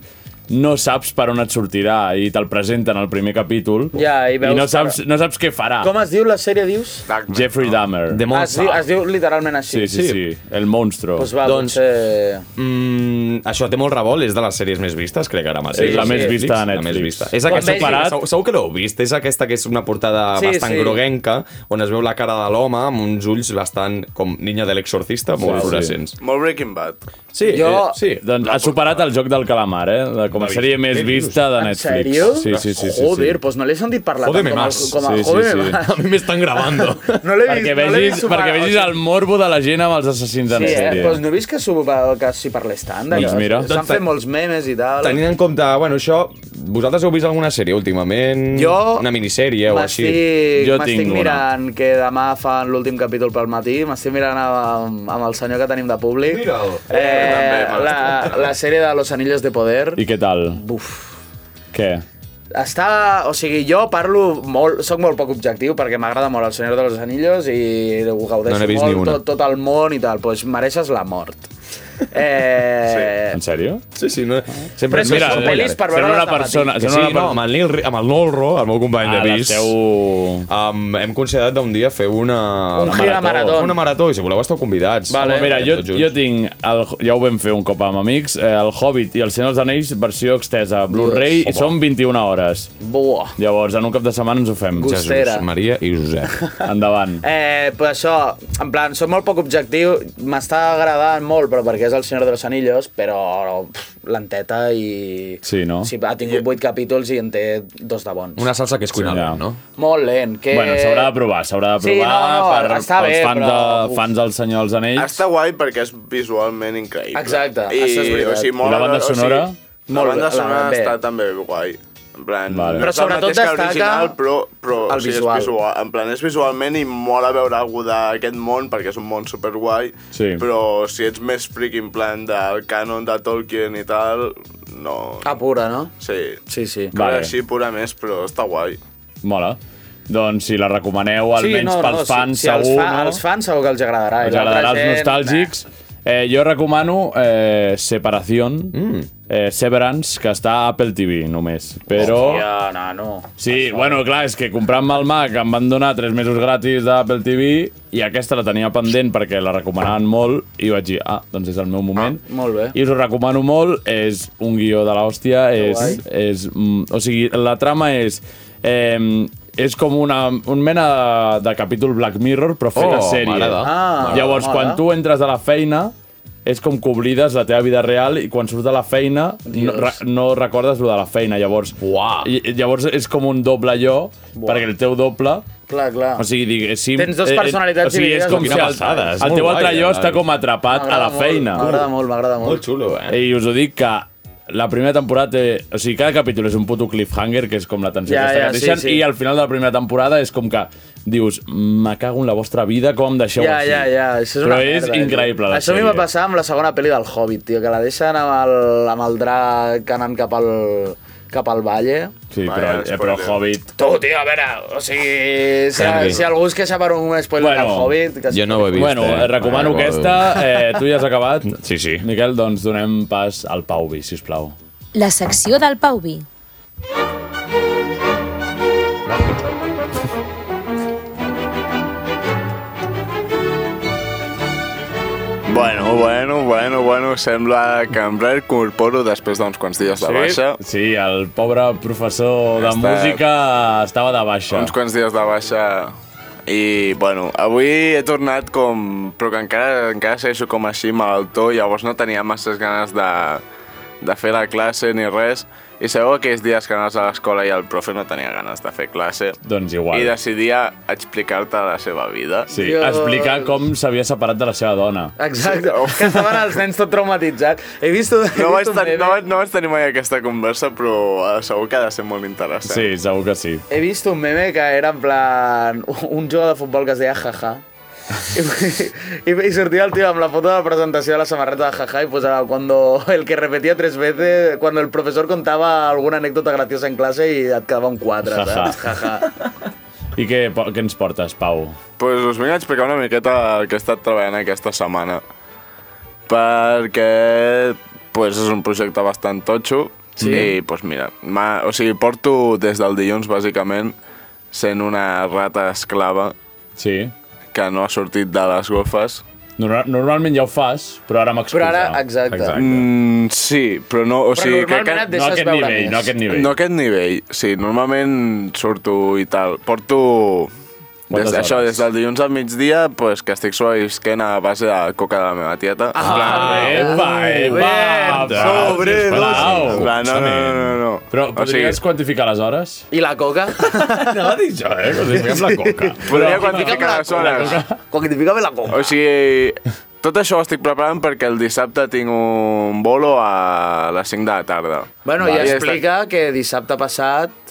[SPEAKER 3] no saps per on et sortirà i te'l presenten al primer capítol
[SPEAKER 9] Ja, i veus
[SPEAKER 3] no,
[SPEAKER 9] que-
[SPEAKER 3] saps, no saps què farà.
[SPEAKER 9] Com es diu la sèrie, dius?
[SPEAKER 7] Darkman,
[SPEAKER 3] Jeffrey Dahmer.
[SPEAKER 10] The
[SPEAKER 9] Ah, Es diu, es
[SPEAKER 10] Monster.
[SPEAKER 9] diu literalment
[SPEAKER 3] Sí,
[SPEAKER 9] així.
[SPEAKER 3] sí, sí, sí, el monstro.
[SPEAKER 9] Pues va,
[SPEAKER 10] Doncs-
[SPEAKER 9] doncs... Potser...
[SPEAKER 10] Mm, això té molt revolt, és de les sèries més vistes, crec, ara mateix.
[SPEAKER 3] Sí, la més vista de
[SPEAKER 10] La més
[SPEAKER 3] Netflix.
[SPEAKER 10] vista. És
[SPEAKER 9] Quan
[SPEAKER 10] aquesta,
[SPEAKER 9] vegis-
[SPEAKER 10] segur- segur, segur que l'heu vist, és aquesta que és una portada
[SPEAKER 9] Sí,
[SPEAKER 10] sí, bastant
[SPEAKER 9] sí.
[SPEAKER 10] sí. groguenca, on es veu la cara de l'home amb uns ulls bastant com niña de l'exorcista, molt
[SPEAKER 3] Sí, sí.
[SPEAKER 10] fluorescents.
[SPEAKER 7] Molt Breaking Bad.
[SPEAKER 10] Sí,
[SPEAKER 9] Jo-
[SPEAKER 10] Ah, sí.
[SPEAKER 3] Doncs ha superat el joc del calamar, eh? La, com a
[SPEAKER 10] David,
[SPEAKER 3] sèrie més
[SPEAKER 10] què dius?
[SPEAKER 3] vista de
[SPEAKER 9] ¿En
[SPEAKER 3] Netflix.
[SPEAKER 9] serio?
[SPEAKER 3] Sí, sí, sí. sí, sí.
[SPEAKER 9] Joder, pues no le he sentit parlar
[SPEAKER 10] Jódeme
[SPEAKER 9] tant com,
[SPEAKER 10] más.
[SPEAKER 9] a, com a
[SPEAKER 3] Sí, sí,
[SPEAKER 9] Jódeme
[SPEAKER 3] sí.
[SPEAKER 9] más.
[SPEAKER 10] A mi m'estan gravando.
[SPEAKER 9] No l'he vist,
[SPEAKER 3] Perquè
[SPEAKER 9] no l'he
[SPEAKER 3] vegis,
[SPEAKER 9] vist superar,
[SPEAKER 3] perquè vegis
[SPEAKER 9] o sigui-
[SPEAKER 3] el morbo de la gent amb els assassins en
[SPEAKER 9] Sí, eh?
[SPEAKER 3] sèrie.
[SPEAKER 9] pues no he vist que, s'ho- que s'hi parlés tant.
[SPEAKER 3] Doncs
[SPEAKER 9] d'aquest.
[SPEAKER 3] mira.
[SPEAKER 9] S'han fet molts memes i tal.
[SPEAKER 10] Tenint en compte, bueno, això... Vosaltres heu vist alguna sèrie últimament?
[SPEAKER 9] Jo-
[SPEAKER 10] Una minissèrie o així?
[SPEAKER 9] M'estic
[SPEAKER 3] Jo
[SPEAKER 9] m'estic
[SPEAKER 3] tinc una.
[SPEAKER 9] mirant que demà fan l'últim capítol pel matí, m'estic mirant amb, amb el senyor que tenim de públic.
[SPEAKER 10] Mira'l.
[SPEAKER 9] Eh, la, la sèrie de Los Anillos de Poder.
[SPEAKER 3] I què tal?
[SPEAKER 9] Buf.
[SPEAKER 3] Què?
[SPEAKER 9] Està... O sigui, jo parlo molt... Soc molt poc objectiu perquè m'agrada molt el Senyor de los Anillos i ho gaudeixo
[SPEAKER 10] No n'he vist ni
[SPEAKER 9] molt,
[SPEAKER 10] una.
[SPEAKER 9] tot, tot el món i tal. Doncs pues mereixes la mort. Eh...
[SPEAKER 3] En sèrio?
[SPEAKER 10] Sí, sí, no...
[SPEAKER 9] Però
[SPEAKER 10] Sempre
[SPEAKER 9] és que
[SPEAKER 3] Mira,
[SPEAKER 9] són
[SPEAKER 3] eh,
[SPEAKER 9] pel·lis per
[SPEAKER 3] sembla
[SPEAKER 9] veure-les
[SPEAKER 3] una
[SPEAKER 9] demà
[SPEAKER 3] persona...
[SPEAKER 10] Que sí,
[SPEAKER 3] sembla una
[SPEAKER 10] no, amb el, Nil, Ri- amb el Nolro, el meu company
[SPEAKER 3] Ah,
[SPEAKER 10] de
[SPEAKER 3] la
[SPEAKER 10] pis,
[SPEAKER 3] seu...
[SPEAKER 10] um, hem considerat d'un dia fer una...
[SPEAKER 9] Un
[SPEAKER 10] una
[SPEAKER 9] gir a marató.
[SPEAKER 10] Ah, Una marató, i si voleu esteu convidats.
[SPEAKER 9] Vale.
[SPEAKER 10] Home,
[SPEAKER 3] Mira, jo,
[SPEAKER 10] tots junts.
[SPEAKER 3] jo tinc, el, ja ho vam fer un cop amb amics, eh, el Hobbit i el Senyor dels Anells, versió extesa, Blu-ray, i són 21 hores.
[SPEAKER 9] Buah.
[SPEAKER 3] Llavors, en un cap de setmana ens ho fem.
[SPEAKER 9] Gust.
[SPEAKER 10] Jesús,
[SPEAKER 9] Costera.
[SPEAKER 10] Maria i Josep.
[SPEAKER 3] Endavant.
[SPEAKER 9] Eh, però això, en plan, soc molt poc objectiu, m'està agradant molt, però perquè és el Senyor de los Anillos, però pff, lenteta i...
[SPEAKER 3] Sí, no?
[SPEAKER 9] Sí, ha tingut vuit capítols i en té dos de bons.
[SPEAKER 10] Una salsa que és cuinada,
[SPEAKER 3] Ja.
[SPEAKER 10] sí, no?
[SPEAKER 9] Molt lent, que...
[SPEAKER 3] Bueno, s'haurà de provar, s'haurà de
[SPEAKER 9] Sí,
[SPEAKER 3] provar
[SPEAKER 9] no, no,
[SPEAKER 3] per,
[SPEAKER 9] està
[SPEAKER 3] pels
[SPEAKER 9] bé,
[SPEAKER 3] fans,
[SPEAKER 9] però-
[SPEAKER 3] de, fans del Senyor dels Anells.
[SPEAKER 7] Està guai perquè és visualment increïble.
[SPEAKER 9] Exacte, això és veritat.
[SPEAKER 7] o sigui, mola,
[SPEAKER 3] I la banda sonora?
[SPEAKER 7] O sigui, la
[SPEAKER 9] Molt bé,
[SPEAKER 7] banda
[SPEAKER 9] la-
[SPEAKER 7] sonora
[SPEAKER 9] bé.
[SPEAKER 7] està també guai. En plan,
[SPEAKER 3] Vale.
[SPEAKER 7] no
[SPEAKER 3] Però
[SPEAKER 7] és el
[SPEAKER 9] sobretot
[SPEAKER 7] mateix que
[SPEAKER 9] destaca
[SPEAKER 7] l'original, però, però
[SPEAKER 9] el
[SPEAKER 7] o sigui,
[SPEAKER 9] visual.
[SPEAKER 7] És visual. En plan, és visualment i mola veure algú d'aquest món, perquè és un món superguai,
[SPEAKER 3] Sí.
[SPEAKER 7] però si ets més fric en plan del canon de Tolkien i tal, no...
[SPEAKER 9] Ah, pura, no?
[SPEAKER 7] Sí.
[SPEAKER 9] Sí, sí.
[SPEAKER 3] Va. Vale.
[SPEAKER 7] Vale. Així pura més, però està guai.
[SPEAKER 3] Mola. Doncs si la recomaneu, almenys
[SPEAKER 9] no,
[SPEAKER 3] pels
[SPEAKER 9] no,
[SPEAKER 3] fans,
[SPEAKER 9] si, si
[SPEAKER 3] segur,
[SPEAKER 9] els fa,
[SPEAKER 3] no?
[SPEAKER 9] Els fans segur que els agradarà. i
[SPEAKER 3] Us
[SPEAKER 9] l'altra
[SPEAKER 3] agradarà als
[SPEAKER 9] gent,
[SPEAKER 3] nostàlgics. Eh, jo recomano eh, Separación, mm. eh, Severance, que està a Apple TV només. Però...
[SPEAKER 9] Nah. Hòstia, no, no. eh?
[SPEAKER 3] Sí, bueno, clar, és que comprant-me el Mac em van donar 3 mesos gratis d'Apple TV i aquesta la tenia pendent perquè la recomanaven molt i vaig dir, ah, doncs és el meu moment.
[SPEAKER 9] Ah, molt bé.
[SPEAKER 3] I us ho recomano molt, és un guió de l'hòstia, és,
[SPEAKER 9] guai.
[SPEAKER 3] és, mm, o sigui, la trama és... Eh, és com una, un mena de, de capítol Black Mirror, però fet
[SPEAKER 10] Oh,
[SPEAKER 3] a sèrie.
[SPEAKER 10] m'agrada.
[SPEAKER 9] Ah,
[SPEAKER 3] Llavors,
[SPEAKER 9] mola.
[SPEAKER 3] quan tu entres a la feina, és com que oblides la teva vida real i quan surts de la feina no,
[SPEAKER 9] Dios.
[SPEAKER 3] re, no recordes lo de la feina. Llavors,
[SPEAKER 10] Uah.
[SPEAKER 3] i- i Llavors és com un doble allò, perquè el teu doble...
[SPEAKER 9] Clar, clar.
[SPEAKER 3] O sigui, diguéssim...
[SPEAKER 9] Tens dos
[SPEAKER 3] eh, eh,
[SPEAKER 9] personalitats
[SPEAKER 3] o sigui, és
[SPEAKER 9] dividides.
[SPEAKER 3] com si
[SPEAKER 10] Quina
[SPEAKER 3] el,
[SPEAKER 10] passada, és
[SPEAKER 3] el
[SPEAKER 10] molt
[SPEAKER 3] teu
[SPEAKER 10] guai,
[SPEAKER 3] altre allò
[SPEAKER 10] eh?
[SPEAKER 3] està com atrapat a la
[SPEAKER 9] M'agrada molt,
[SPEAKER 3] feina.
[SPEAKER 9] M'agrada molt, m'agrada molt.
[SPEAKER 10] Molt xulo, eh?
[SPEAKER 3] I us ho dic que la primera temporada té... O sigui, cada capítol és un puto cliffhanger, que és com la tensió
[SPEAKER 9] Ja,
[SPEAKER 3] aquesta que
[SPEAKER 9] ja, sí,
[SPEAKER 3] et deixen,
[SPEAKER 9] sí.
[SPEAKER 3] i al final de la primera temporada és com que dius, me cago en la vostra vida, com em deixeu
[SPEAKER 9] Ja,
[SPEAKER 3] així?
[SPEAKER 9] ja, ja, això és
[SPEAKER 3] Però
[SPEAKER 9] una
[SPEAKER 3] és
[SPEAKER 9] merda, eh,
[SPEAKER 3] increïble, la
[SPEAKER 9] Això a mi
[SPEAKER 3] sèrie.
[SPEAKER 9] va passar amb la segona pel·li del Hobbit, tio, que la deixen amb el, amb el drac anant cap al, cap al valle.
[SPEAKER 3] Sí, però,
[SPEAKER 7] Vaya,
[SPEAKER 3] eh, però el
[SPEAKER 7] spoiler.
[SPEAKER 3] Hobbit...
[SPEAKER 9] Tu, tio, a veure, o sigui, si,
[SPEAKER 10] Henry.
[SPEAKER 9] si algú es queixa per un
[SPEAKER 3] Bueno,
[SPEAKER 9] spoiler bueno, del Hobbit... Que...
[SPEAKER 10] Jo no ho he vist.
[SPEAKER 3] Bueno,
[SPEAKER 10] eh?
[SPEAKER 3] eh, recomano
[SPEAKER 10] Vale,
[SPEAKER 3] aquesta. Eh, tu ja has acabat.
[SPEAKER 10] Sí, sí.
[SPEAKER 3] Miquel, doncs donem pas al Pauvi, si us plau.
[SPEAKER 6] La secció del Pauvi.
[SPEAKER 9] eh.
[SPEAKER 7] Bueno, bueno, bueno, bueno, sembla que em reincorporo després d'uns quants dies de baixa.
[SPEAKER 3] Sí, el pobre professor de
[SPEAKER 7] Està-
[SPEAKER 3] música estava de baixa.
[SPEAKER 7] Uns quants dies de baixa i, bueno, avui he tornat com... però que encara, encara segueixo com així malaltó, llavors no tenia masses ganes de, de fer la classe ni res. I sabeu aquells dies que anaves a l'escola i el profe no tenia ganes de fer classe?
[SPEAKER 3] Doncs igual.
[SPEAKER 7] I decidia explicar-te la seva vida.
[SPEAKER 3] Sí,
[SPEAKER 9] Dios.
[SPEAKER 3] explicar com s'havia separat de la seva dona.
[SPEAKER 9] Exacte,
[SPEAKER 7] Sí, no.
[SPEAKER 9] que estaven els nens tot traumatitzats. He vist... he
[SPEAKER 7] No
[SPEAKER 9] vist
[SPEAKER 7] vaig,
[SPEAKER 9] un
[SPEAKER 7] tenir,
[SPEAKER 9] meme-
[SPEAKER 7] no, vaig, no vaig tenir mai aquesta conversa, però eh, segur que ha de ser molt interessant.
[SPEAKER 3] Sí, segur que sí.
[SPEAKER 9] He vist un meme que era en plan un jugador de futbol que es deia jaja. I, i sortia el tio amb la foto de la presentació de la samarreta de jaja i posava cuando el que repetia tres veces, cuando el professor contava alguna anècdota graciosa en classe i et quedava un 4,
[SPEAKER 3] Ja, ja.
[SPEAKER 9] saps? Jaja.
[SPEAKER 3] I què, po- què ens portes, Pau?
[SPEAKER 7] pues us vinc a explicar una miqueta el que he estat treballant aquesta setmana. Perquè pues, és un projecte bastant totxo. Sí. I, pues, mira, ma, o sigui, porto des del dilluns, bàsicament, sent una rata esclava
[SPEAKER 3] Sí.
[SPEAKER 7] que no ha sortit de les golfes.
[SPEAKER 3] Normal, normalment ja ho fas, però ara m'excusa.
[SPEAKER 9] Però ara, exacte.
[SPEAKER 7] Mm, sí, però no... O
[SPEAKER 9] Però
[SPEAKER 7] sigui, que
[SPEAKER 9] normalment
[SPEAKER 7] aquest-
[SPEAKER 9] et
[SPEAKER 3] No a
[SPEAKER 9] deixes
[SPEAKER 3] aquest
[SPEAKER 9] veure
[SPEAKER 3] nivell,
[SPEAKER 9] més.
[SPEAKER 3] no a aquest nivell.
[SPEAKER 7] No a aquest nivell, sí. Normalment surto i tal. Porto... Des,
[SPEAKER 3] Quantes
[SPEAKER 7] això,
[SPEAKER 3] hores?
[SPEAKER 7] des del dilluns al migdia, pues, que estic sobrevisquent a base de coca de la meva tieta. Ah,
[SPEAKER 3] Epa, epa, epa, sisplau,
[SPEAKER 7] En plan, no, no, no, no, no.
[SPEAKER 3] Però
[SPEAKER 7] o sigui, Ah,
[SPEAKER 3] podries quantificar les hores?
[SPEAKER 9] I la coca?
[SPEAKER 3] No, dic jo, eh? Quantifiquem la coca.
[SPEAKER 7] podria quantificar les hores.
[SPEAKER 9] Quantifica'm la coca.
[SPEAKER 7] O sigui, tot això ho estic preparant perquè el dissabte tinc un bolo a les 5 de la tarda.
[SPEAKER 9] Bueno,
[SPEAKER 7] Va,
[SPEAKER 9] i
[SPEAKER 7] he estat-
[SPEAKER 9] explica que dissabte passat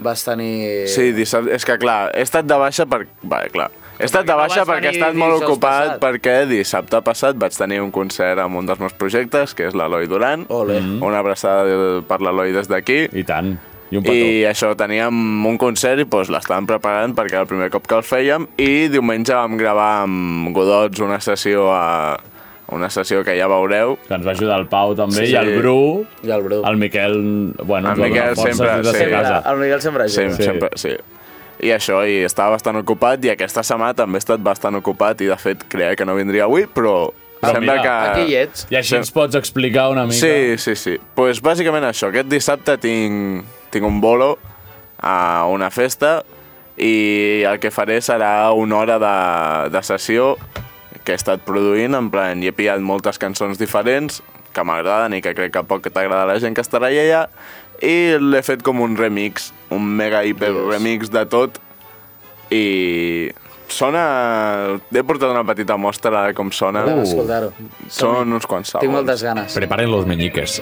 [SPEAKER 9] vas tenir...
[SPEAKER 7] Sí, dissabte... És que, clar, he estat de baixa per... Vale, clar. He estat de
[SPEAKER 9] no
[SPEAKER 7] baixa
[SPEAKER 9] vas
[SPEAKER 7] perquè he
[SPEAKER 9] venir
[SPEAKER 7] estat molt
[SPEAKER 9] dijous
[SPEAKER 7] ocupat
[SPEAKER 9] passat.
[SPEAKER 7] perquè dissabte passat vaig tenir un concert amb un dels meus projectes, que és l'Eloi Duran.
[SPEAKER 9] Ole.
[SPEAKER 7] Una abraçada de- per l'Eloi des d'aquí.
[SPEAKER 3] I tant. I un petó.
[SPEAKER 7] I això, teníem un concert i doncs, l'estàvem preparant perquè era el primer cop que el fèiem i diumenge vam gravar amb Godots una sessió a una sessió que ja veureu.
[SPEAKER 3] Que ens va ajudar el Pau també,
[SPEAKER 7] Sí,
[SPEAKER 3] i el
[SPEAKER 7] sí.
[SPEAKER 3] Bru,
[SPEAKER 9] I el Bru.
[SPEAKER 3] el Miquel, bueno, ens va
[SPEAKER 7] El
[SPEAKER 3] donar
[SPEAKER 7] Miquel
[SPEAKER 3] forces
[SPEAKER 7] sempre,
[SPEAKER 3] des de
[SPEAKER 7] sí.
[SPEAKER 3] casa.
[SPEAKER 9] El Miguel
[SPEAKER 3] Ah,
[SPEAKER 9] sempre
[SPEAKER 7] Sí,
[SPEAKER 9] ajuda.
[SPEAKER 7] sí. sempre, sí. I això, i estava bastant ocupat, i aquesta setmana també he estat bastant ocupat, i de fet creia que no vindria avui, però,
[SPEAKER 3] Però
[SPEAKER 7] sembla
[SPEAKER 3] Ah, mira,
[SPEAKER 7] que...
[SPEAKER 9] Aquí hi ets.
[SPEAKER 3] I així
[SPEAKER 7] Sí.
[SPEAKER 3] ens pots explicar una mica.
[SPEAKER 7] Sí, sí, sí. Doncs pues bàsicament això, aquest dissabte tinc, tinc un bolo a una festa i el que faré serà una hora de, de sessió que he estat produint, en plan, hi he pillat moltes cançons diferents que m'agraden i que crec que poc t'agrada a la gent que estarà allà i l'he fet com un remix, un mega hiper remix de tot i sona... He portat una petita mostra de com sona.
[SPEAKER 9] Anem a escoltar-ho.
[SPEAKER 7] Són uns quants segons.
[SPEAKER 9] Tinc moltes ganes.
[SPEAKER 10] Preparen los meñiques.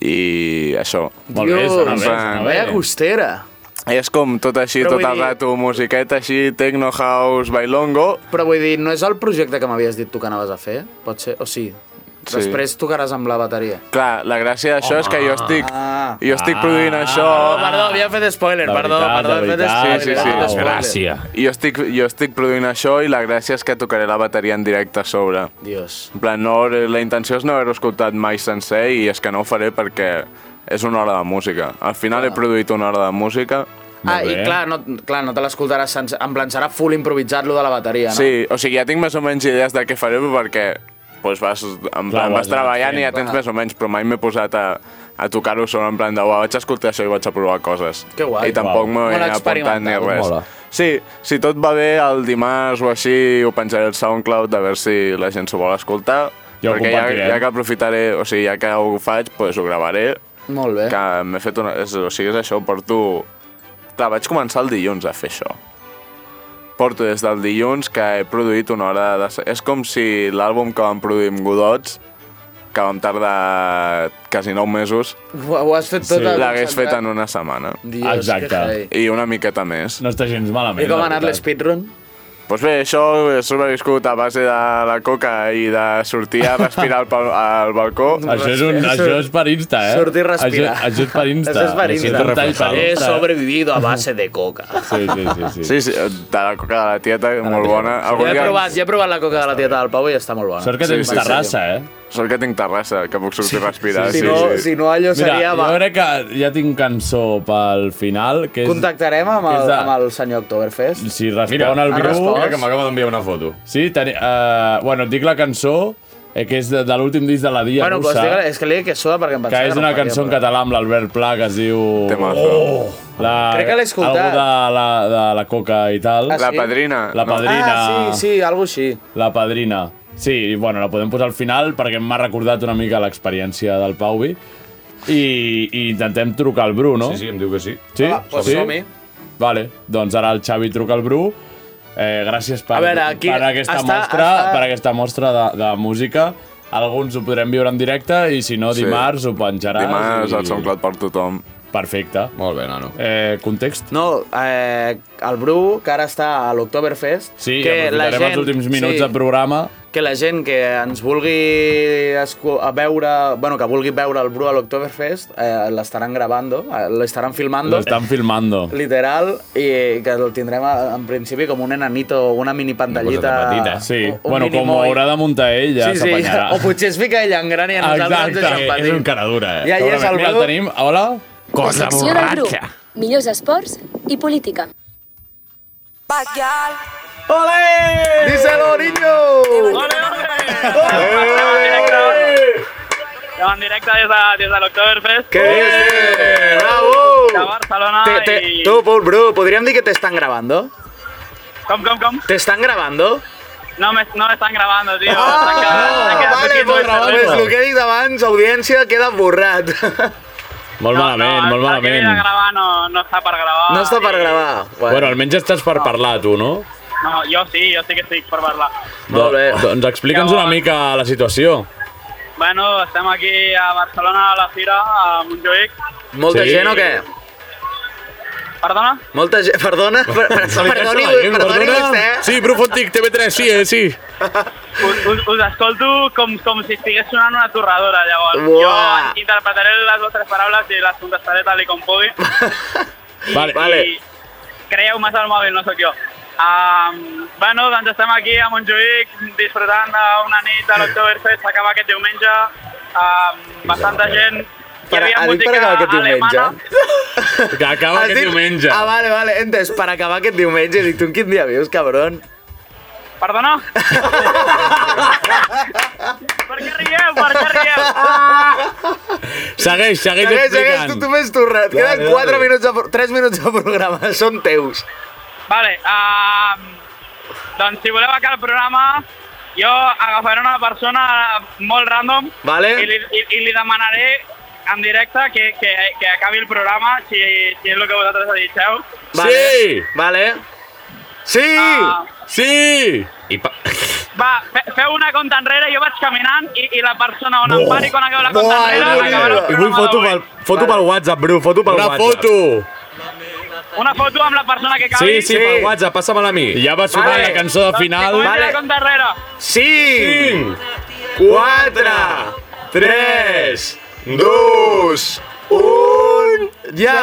[SPEAKER 7] i això.
[SPEAKER 3] Molt bé,
[SPEAKER 9] Dios,
[SPEAKER 3] sona bé,
[SPEAKER 7] va,
[SPEAKER 3] sona bé.
[SPEAKER 9] Vaya costera.
[SPEAKER 7] És com tot així,
[SPEAKER 9] Però
[SPEAKER 7] tot
[SPEAKER 9] vull
[SPEAKER 7] el
[SPEAKER 9] dir-
[SPEAKER 7] rato, musiqueta així, techno house, bailongo.
[SPEAKER 9] Però vull dir, no és el projecte que m'havies dit tu que anaves a fer? Pot ser? O sí?
[SPEAKER 7] Sí.
[SPEAKER 9] sí. Després tocaràs amb la bateria.
[SPEAKER 7] Clar, la gràcia d'això és que jo estic,
[SPEAKER 9] Ah.
[SPEAKER 7] jo estic produint això...
[SPEAKER 9] Oh, perdó, havia fet spoiler,
[SPEAKER 3] La
[SPEAKER 9] perdó,
[SPEAKER 3] veritat,
[SPEAKER 9] perdó,
[SPEAKER 3] la
[SPEAKER 9] he fet
[SPEAKER 3] veritat,
[SPEAKER 9] spoiler.
[SPEAKER 7] sí, sí, sí.
[SPEAKER 9] he fet spoiler.
[SPEAKER 7] Jo estic, jo estic produint això i la gràcia és que tocaré la bateria en directe a sobre.
[SPEAKER 9] Dios.
[SPEAKER 7] En plan, no, la intenció és no haver-ho escoltat mai sencer i és que no ho faré perquè és una hora de música. Al final he produït una hora de música.
[SPEAKER 9] Ah,
[SPEAKER 3] Molt
[SPEAKER 9] i
[SPEAKER 3] bé.
[SPEAKER 9] clar, no, clar, no te l'escoltaràs sense... En plan, serà full improvisar-lo de la bateria, no?
[SPEAKER 7] Sí, o sigui, ja tinc més o menys idees de què faré perquè doncs vas, en
[SPEAKER 3] Clar,
[SPEAKER 7] plan,
[SPEAKER 3] ho has anat
[SPEAKER 7] vas treballant
[SPEAKER 3] fent,
[SPEAKER 7] i ja tens més o menys, però mai m'he posat a, a tocar-ho sobre en plan de uau, vaig escoltar això i vaig a provar coses.
[SPEAKER 9] Que guai.
[SPEAKER 7] I tampoc
[SPEAKER 3] Uau.
[SPEAKER 7] m'ho he
[SPEAKER 9] Molt
[SPEAKER 7] anat apuntant ni
[SPEAKER 9] experimental,
[SPEAKER 7] res.
[SPEAKER 10] mola.
[SPEAKER 7] Sí, si tot va bé, el dimarts o així ho penjaré al SoundCloud a veure si la gent s'ho vol escoltar.
[SPEAKER 3] Ja ho
[SPEAKER 7] perquè ja,
[SPEAKER 3] compartirem.
[SPEAKER 7] ja que aprofitaré, o sigui, ja que ho faig, doncs ho gravaré.
[SPEAKER 9] Molt bé.
[SPEAKER 7] Que m'he fet una... És, o sigui, és això, porto... Clar, vaig començar el dilluns a fer això. Porto des del dilluns que he produït una hora de... És com si l'àlbum que vam produir amb Godots, que vam tardar quasi 9 mesos,
[SPEAKER 9] Ho, ho has fet tot...
[SPEAKER 3] Sí.
[SPEAKER 9] a-
[SPEAKER 7] l'hagués fet en una setmana.
[SPEAKER 9] Dios,
[SPEAKER 3] Exacte.
[SPEAKER 9] que heavy.
[SPEAKER 7] I una miqueta més.
[SPEAKER 3] No està gens malament.
[SPEAKER 9] I com
[SPEAKER 3] la
[SPEAKER 9] ha anat
[SPEAKER 3] veritat.
[SPEAKER 9] l'speedrun?
[SPEAKER 7] Doncs bé, això he sobreviscut a base de la coca i de sortir a respirar al, pal- al balcó.
[SPEAKER 3] Això és, un, això és per Insta, eh?
[SPEAKER 9] Sortir a respirar.
[SPEAKER 3] Això, això és per Insta.
[SPEAKER 9] Això és per Insta. Eh,
[SPEAKER 3] Això és un tall per
[SPEAKER 10] He
[SPEAKER 3] Insta.
[SPEAKER 9] sobrevivido a base de coca.
[SPEAKER 3] Sí, sí, sí. sí.
[SPEAKER 7] Sí, sí, de la coca de la tieta, molt bona.
[SPEAKER 9] Ja
[SPEAKER 7] Algun
[SPEAKER 9] he
[SPEAKER 7] dia-
[SPEAKER 9] provat, ja he provat la coca de la tieta del Pau i està molt bona.
[SPEAKER 3] Sort que
[SPEAKER 7] Sí,
[SPEAKER 3] tens
[SPEAKER 7] sí, sí.
[SPEAKER 3] terrassa, eh?
[SPEAKER 7] Sort que tinc terrassa, que puc sortir a respirar.
[SPEAKER 9] si, no, si no, allò
[SPEAKER 3] Mira,
[SPEAKER 9] seria...
[SPEAKER 3] jo crec que ja tinc cançó pel final, que és...
[SPEAKER 9] Contactarem amb
[SPEAKER 3] que és
[SPEAKER 9] el,
[SPEAKER 3] de-
[SPEAKER 9] amb el senyor Oktoberfest.
[SPEAKER 3] Si respon al
[SPEAKER 9] ha
[SPEAKER 3] Bru...
[SPEAKER 9] respost.
[SPEAKER 10] que m'acaba d'enviar una foto.
[SPEAKER 3] Sí, teni... uh, bueno, et dic la cançó, eh, que és de, de l'últim disc de la Dia
[SPEAKER 9] Bueno, pues,
[SPEAKER 3] Russa,
[SPEAKER 9] digue- és que li dic que soda perquè em
[SPEAKER 3] que
[SPEAKER 9] pensava
[SPEAKER 3] és
[SPEAKER 9] no
[SPEAKER 3] una
[SPEAKER 9] faria,
[SPEAKER 3] cançó en
[SPEAKER 9] però-
[SPEAKER 3] català amb l'Albert Pla, que es diu... Oh,
[SPEAKER 7] Temazo.
[SPEAKER 3] La,
[SPEAKER 9] Crec que l'he escoltat.
[SPEAKER 3] Algú de la, de la coca i tal.
[SPEAKER 9] Ah,
[SPEAKER 7] La
[SPEAKER 9] sí?
[SPEAKER 7] padrina.
[SPEAKER 3] La
[SPEAKER 7] no?
[SPEAKER 3] padrina.
[SPEAKER 9] Ah, sí, sí, algo així.
[SPEAKER 3] La padrina. Sí, bueno, la podem posar al final perquè m'ha recordat una mica l'experiència del Pauvi. I, I intentem trucar al Bru, no?
[SPEAKER 10] Sí, sí, em diu que sí.
[SPEAKER 3] Sí?
[SPEAKER 9] Va, doncs som-hi.
[SPEAKER 3] Vale, doncs ara el Xavi truca al Bru. Eh, gràcies per,
[SPEAKER 9] A veure, aquí
[SPEAKER 3] per, aquesta
[SPEAKER 9] està-
[SPEAKER 3] mostra,
[SPEAKER 9] està-
[SPEAKER 3] per aquesta mostra de, de música. Alguns ho podrem viure en directe i si no,
[SPEAKER 7] Sí.
[SPEAKER 3] dimarts ho penjaràs.
[SPEAKER 7] Dimarts
[SPEAKER 3] i...
[SPEAKER 7] al SoundCloud per tothom.
[SPEAKER 3] Perfecte.
[SPEAKER 10] Molt bé, nano.
[SPEAKER 3] Eh, context?
[SPEAKER 9] No, eh, el Bru, que ara està a l'Octoberfest...
[SPEAKER 3] Sí,
[SPEAKER 9] que la
[SPEAKER 3] aprofitarem els últims minuts de programa.
[SPEAKER 9] que la gent que ens vulgui escu- a veure, bueno, que vulgui veure el Bru a l'Octoberfest, eh, l'estaran gravando, eh, l'estaran filmando,
[SPEAKER 3] L'estan filmando.
[SPEAKER 9] literal, i que el tindrem a- en principi com un enanito, una mini pantallita.
[SPEAKER 10] petita,
[SPEAKER 3] Sí,
[SPEAKER 9] un
[SPEAKER 3] bueno, com ho
[SPEAKER 9] minimoi.
[SPEAKER 3] haurà de muntar ell, ja
[SPEAKER 9] sí, sí.
[SPEAKER 3] s'apanyarà.
[SPEAKER 9] O potser es fica ella en gran i a nosaltres ens
[SPEAKER 3] Exacte,
[SPEAKER 9] deixa en
[SPEAKER 3] és un
[SPEAKER 9] petit.
[SPEAKER 3] cara dura, eh?
[SPEAKER 9] Ja hi és,
[SPEAKER 3] Segurament.
[SPEAKER 9] el
[SPEAKER 3] Mira, el
[SPEAKER 9] Bru.
[SPEAKER 3] tenim. Hola?
[SPEAKER 10] Cosa
[SPEAKER 6] Secció del Bru. Millors esports i política.
[SPEAKER 9] Olé! Díselo, niño!
[SPEAKER 8] En directe des de, des de l'Octoberfest,
[SPEAKER 9] Que bé! ¡Eh! Bravo!
[SPEAKER 8] de Barcelona
[SPEAKER 9] Te, te,
[SPEAKER 8] i...
[SPEAKER 9] tu, Pol Bru, podríem dir que t'estan gravando?
[SPEAKER 8] Com, com, com?
[SPEAKER 9] ¿T'estan gravando?
[SPEAKER 8] No me, no me están grabando, tío.
[SPEAKER 9] Ah,
[SPEAKER 8] S'han quedat- s'han quedat
[SPEAKER 9] vale,
[SPEAKER 8] aquí
[SPEAKER 9] pues,
[SPEAKER 8] molt
[SPEAKER 9] pues
[SPEAKER 8] nerviosos.
[SPEAKER 9] el que he dit abans, audiència, queda borrat.
[SPEAKER 3] Molt malament,
[SPEAKER 8] no,
[SPEAKER 3] molt
[SPEAKER 8] el que ve de
[SPEAKER 3] malament.
[SPEAKER 8] gravar no, no està per gravar. Eh,
[SPEAKER 9] No està per gravar.
[SPEAKER 3] Bueno, almenys estàs per parlar, tu, no?
[SPEAKER 8] No, jo sí, jo sí que estic per parlar.
[SPEAKER 9] Molt bé.
[SPEAKER 3] Do- Doncs explica'ns una mica la situació.
[SPEAKER 8] Bueno, estem aquí a Barcelona, a la Fira, a Montjuïc.
[SPEAKER 9] Molta
[SPEAKER 3] Sí.
[SPEAKER 9] gent o què?
[SPEAKER 8] Perdona?
[SPEAKER 9] Molta gent... Perdona? Per, per, perdoni, perdoni vostè.
[SPEAKER 3] ¿eh? Sí, Profontic, TV3, sí, eh, sí.
[SPEAKER 8] Us, us, us escolto com, com si estigués sonant una torradora, llavors.
[SPEAKER 9] Uah.
[SPEAKER 8] Jo interpretaré les vostres paraules i les contestaré tal i com pugui.
[SPEAKER 3] Vale.
[SPEAKER 8] I creieu més al mòbil, no sóc jo. Um, bueno, doncs estem aquí a Montjuïc disfrutant d'una nit de l'Octoberfest, s'acaba aquest diumenge. Um, bastanta gent. Hi
[SPEAKER 9] Per,
[SPEAKER 8] havia
[SPEAKER 9] ha dit per
[SPEAKER 8] música
[SPEAKER 9] acabar aquest diumenge.
[SPEAKER 8] alemana.
[SPEAKER 3] Que
[SPEAKER 10] Oh,
[SPEAKER 3] acaba
[SPEAKER 9] Has
[SPEAKER 3] aquest
[SPEAKER 9] dit-
[SPEAKER 3] diumenge.
[SPEAKER 9] Ah, vale, vale. Entes, per acabar aquest diumenge. Dic, tu en quin dia vius, cabron?
[SPEAKER 8] Perdona? per què rieu? Per què rieu?
[SPEAKER 3] Segueix, segueix
[SPEAKER 9] Segueix, segueix, tu, tu
[SPEAKER 3] explicant.
[SPEAKER 9] m'has tornat. Queden 4 minuts, de, pro- 3 minuts de programa. Són teus.
[SPEAKER 8] Vale, um, doncs si voleu acabar el programa, jo agafaré una persona molt random
[SPEAKER 9] Vale.
[SPEAKER 8] i, li, i, i li demanaré en directe que, que, que acabi el programa, si, si és el que vosaltres desitgeu.
[SPEAKER 9] Vale.
[SPEAKER 3] Sí.
[SPEAKER 9] Vale. Sí!
[SPEAKER 8] Ah,
[SPEAKER 3] Sí!
[SPEAKER 10] I pa...
[SPEAKER 8] va, fe, feu una conta enrere, jo vaig caminant i, i la persona on em pari quan acabo la
[SPEAKER 9] Buah,
[SPEAKER 8] conta
[SPEAKER 10] eh,
[SPEAKER 8] enrere
[SPEAKER 9] és
[SPEAKER 8] acabarà el
[SPEAKER 9] horrible.
[SPEAKER 8] programa d'avui.
[SPEAKER 10] foto pel WhatsApp, Bru, foto pel
[SPEAKER 3] Una foto!
[SPEAKER 8] Una foto amb la persona que acabi.
[SPEAKER 10] Sí, sí,
[SPEAKER 9] Sí.
[SPEAKER 10] pel WhatsApp, passa-me-la a mi.
[SPEAKER 3] I Ja va sonar
[SPEAKER 9] Vale.
[SPEAKER 3] la cançó de
[SPEAKER 8] Doncs que
[SPEAKER 3] final.
[SPEAKER 8] comenci
[SPEAKER 9] Vale.
[SPEAKER 8] la conta enrere.
[SPEAKER 9] 5, 4, 3,
[SPEAKER 7] 2, 1...
[SPEAKER 9] ja!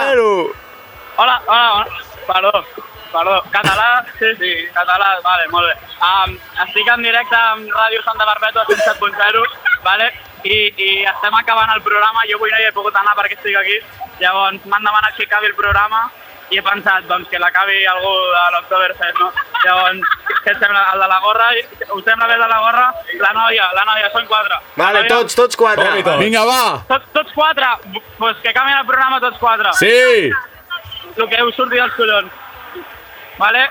[SPEAKER 8] Hola, hola, perdó, perdó. Català, sí, sí, català, vale, molt bé. Um, estic en directe amb Ràdio Santa Barbeta 107.0, vale? I, I estem acabant el programa, jo avui no hi he pogut anar perquè estic aquí, llavors m'han demanat que acabi el programa i he pensat, doncs, que l'acabi algú de l'Octoberfest, no? Llavors, què et sembla, el de la gorra? Us sembla bé el de la gorra? La noia, la noia, són quatre.
[SPEAKER 9] Vale,
[SPEAKER 8] La noia-
[SPEAKER 9] tots, tots quatre.
[SPEAKER 3] Vinga, va!
[SPEAKER 8] Tots, tots quatre? Doncs pues que acabin el programa tots quatre
[SPEAKER 3] Sí!
[SPEAKER 8] el que us surti dels collons. Vale?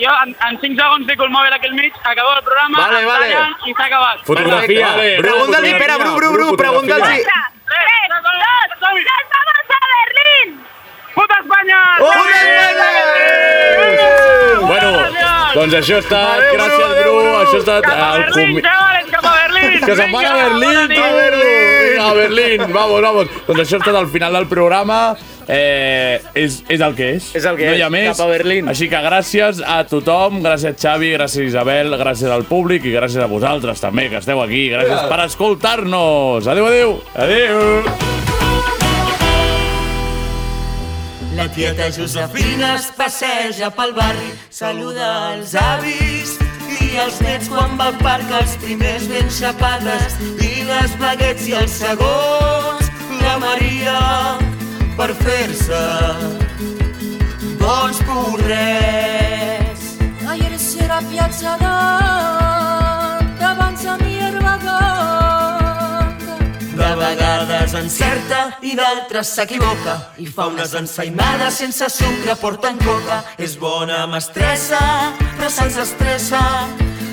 [SPEAKER 8] Jo en, en 5 segons fico el mòbil aquí al mig, acabo el programa,
[SPEAKER 9] Vale,
[SPEAKER 8] em
[SPEAKER 9] vale.
[SPEAKER 8] tallen i s'ha acabat.
[SPEAKER 10] Fotografia.
[SPEAKER 3] Vale.
[SPEAKER 10] Bru,
[SPEAKER 9] Pregunta'ls,
[SPEAKER 10] fotografia,
[SPEAKER 9] espera, Bru, Bru, Bru,
[SPEAKER 10] fotografia.
[SPEAKER 9] pregunta'ls... si-
[SPEAKER 8] ¡Tres, dos, dos, vamos a Berlín! ¡Puta Espanya!
[SPEAKER 9] Ole!
[SPEAKER 3] Bueno, doncs això ha estat...
[SPEAKER 9] Adéu, Bru,
[SPEAKER 3] Gràcies,
[SPEAKER 9] adéu,
[SPEAKER 3] Bru.
[SPEAKER 9] Bru.
[SPEAKER 3] Això ha estat...
[SPEAKER 8] Cap a
[SPEAKER 3] el
[SPEAKER 8] Berlín,
[SPEAKER 3] comi-
[SPEAKER 8] chavales, cap a Berlín!
[SPEAKER 3] Que se'n van a
[SPEAKER 8] Vinga,
[SPEAKER 3] Berlín,
[SPEAKER 8] bona nit.
[SPEAKER 3] tu!
[SPEAKER 9] Berlín.
[SPEAKER 3] Vinga, A Berlín, vamos, vamos. Doncs això ha estat el final del programa. Eh, és, és el que és.
[SPEAKER 9] És el que
[SPEAKER 3] no hi ha
[SPEAKER 9] és,
[SPEAKER 3] més.
[SPEAKER 9] cap a Berlín.
[SPEAKER 3] Així que gràcies a tothom, gràcies Xavi, gràcies Isabel, gràcies al públic i gràcies a vosaltres també, que esteu aquí. Gràcies per escoltar-nos. Adéu, adéu. Adéu.
[SPEAKER 2] La tieta Josefina es passeja pel barri, saluda els avis i els nets quan va al parc, els primers ben xapades i les baguets i els segons, la Maria per fer-se bons porrets.
[SPEAKER 6] Ayer sera piazzada davant sa mierda
[SPEAKER 2] De vegades encerta i d'altres s'equivoca i fa unes ensaïmades sense sucre, porta en coca. És bona mestressa, però se'ns estressa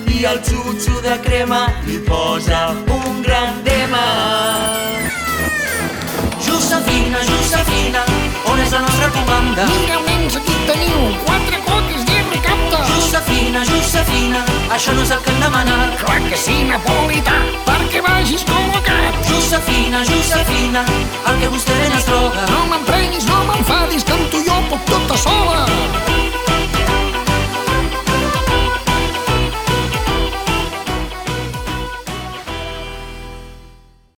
[SPEAKER 2] i i el xutxo de crema li posa un gran tema. Josefina, Josefina, on és la nostra comanda? Mira, nens, aquí teniu quatre coques de recapta. Josefina, Josefina, això no és el que han demanat. Clar que sí, Napolità, perquè vagis col·locat. Josefina, Josefina, el que vostè ben es droga. No m'emprenguis, no m'enfadis, que amb tu jo puc tota sola.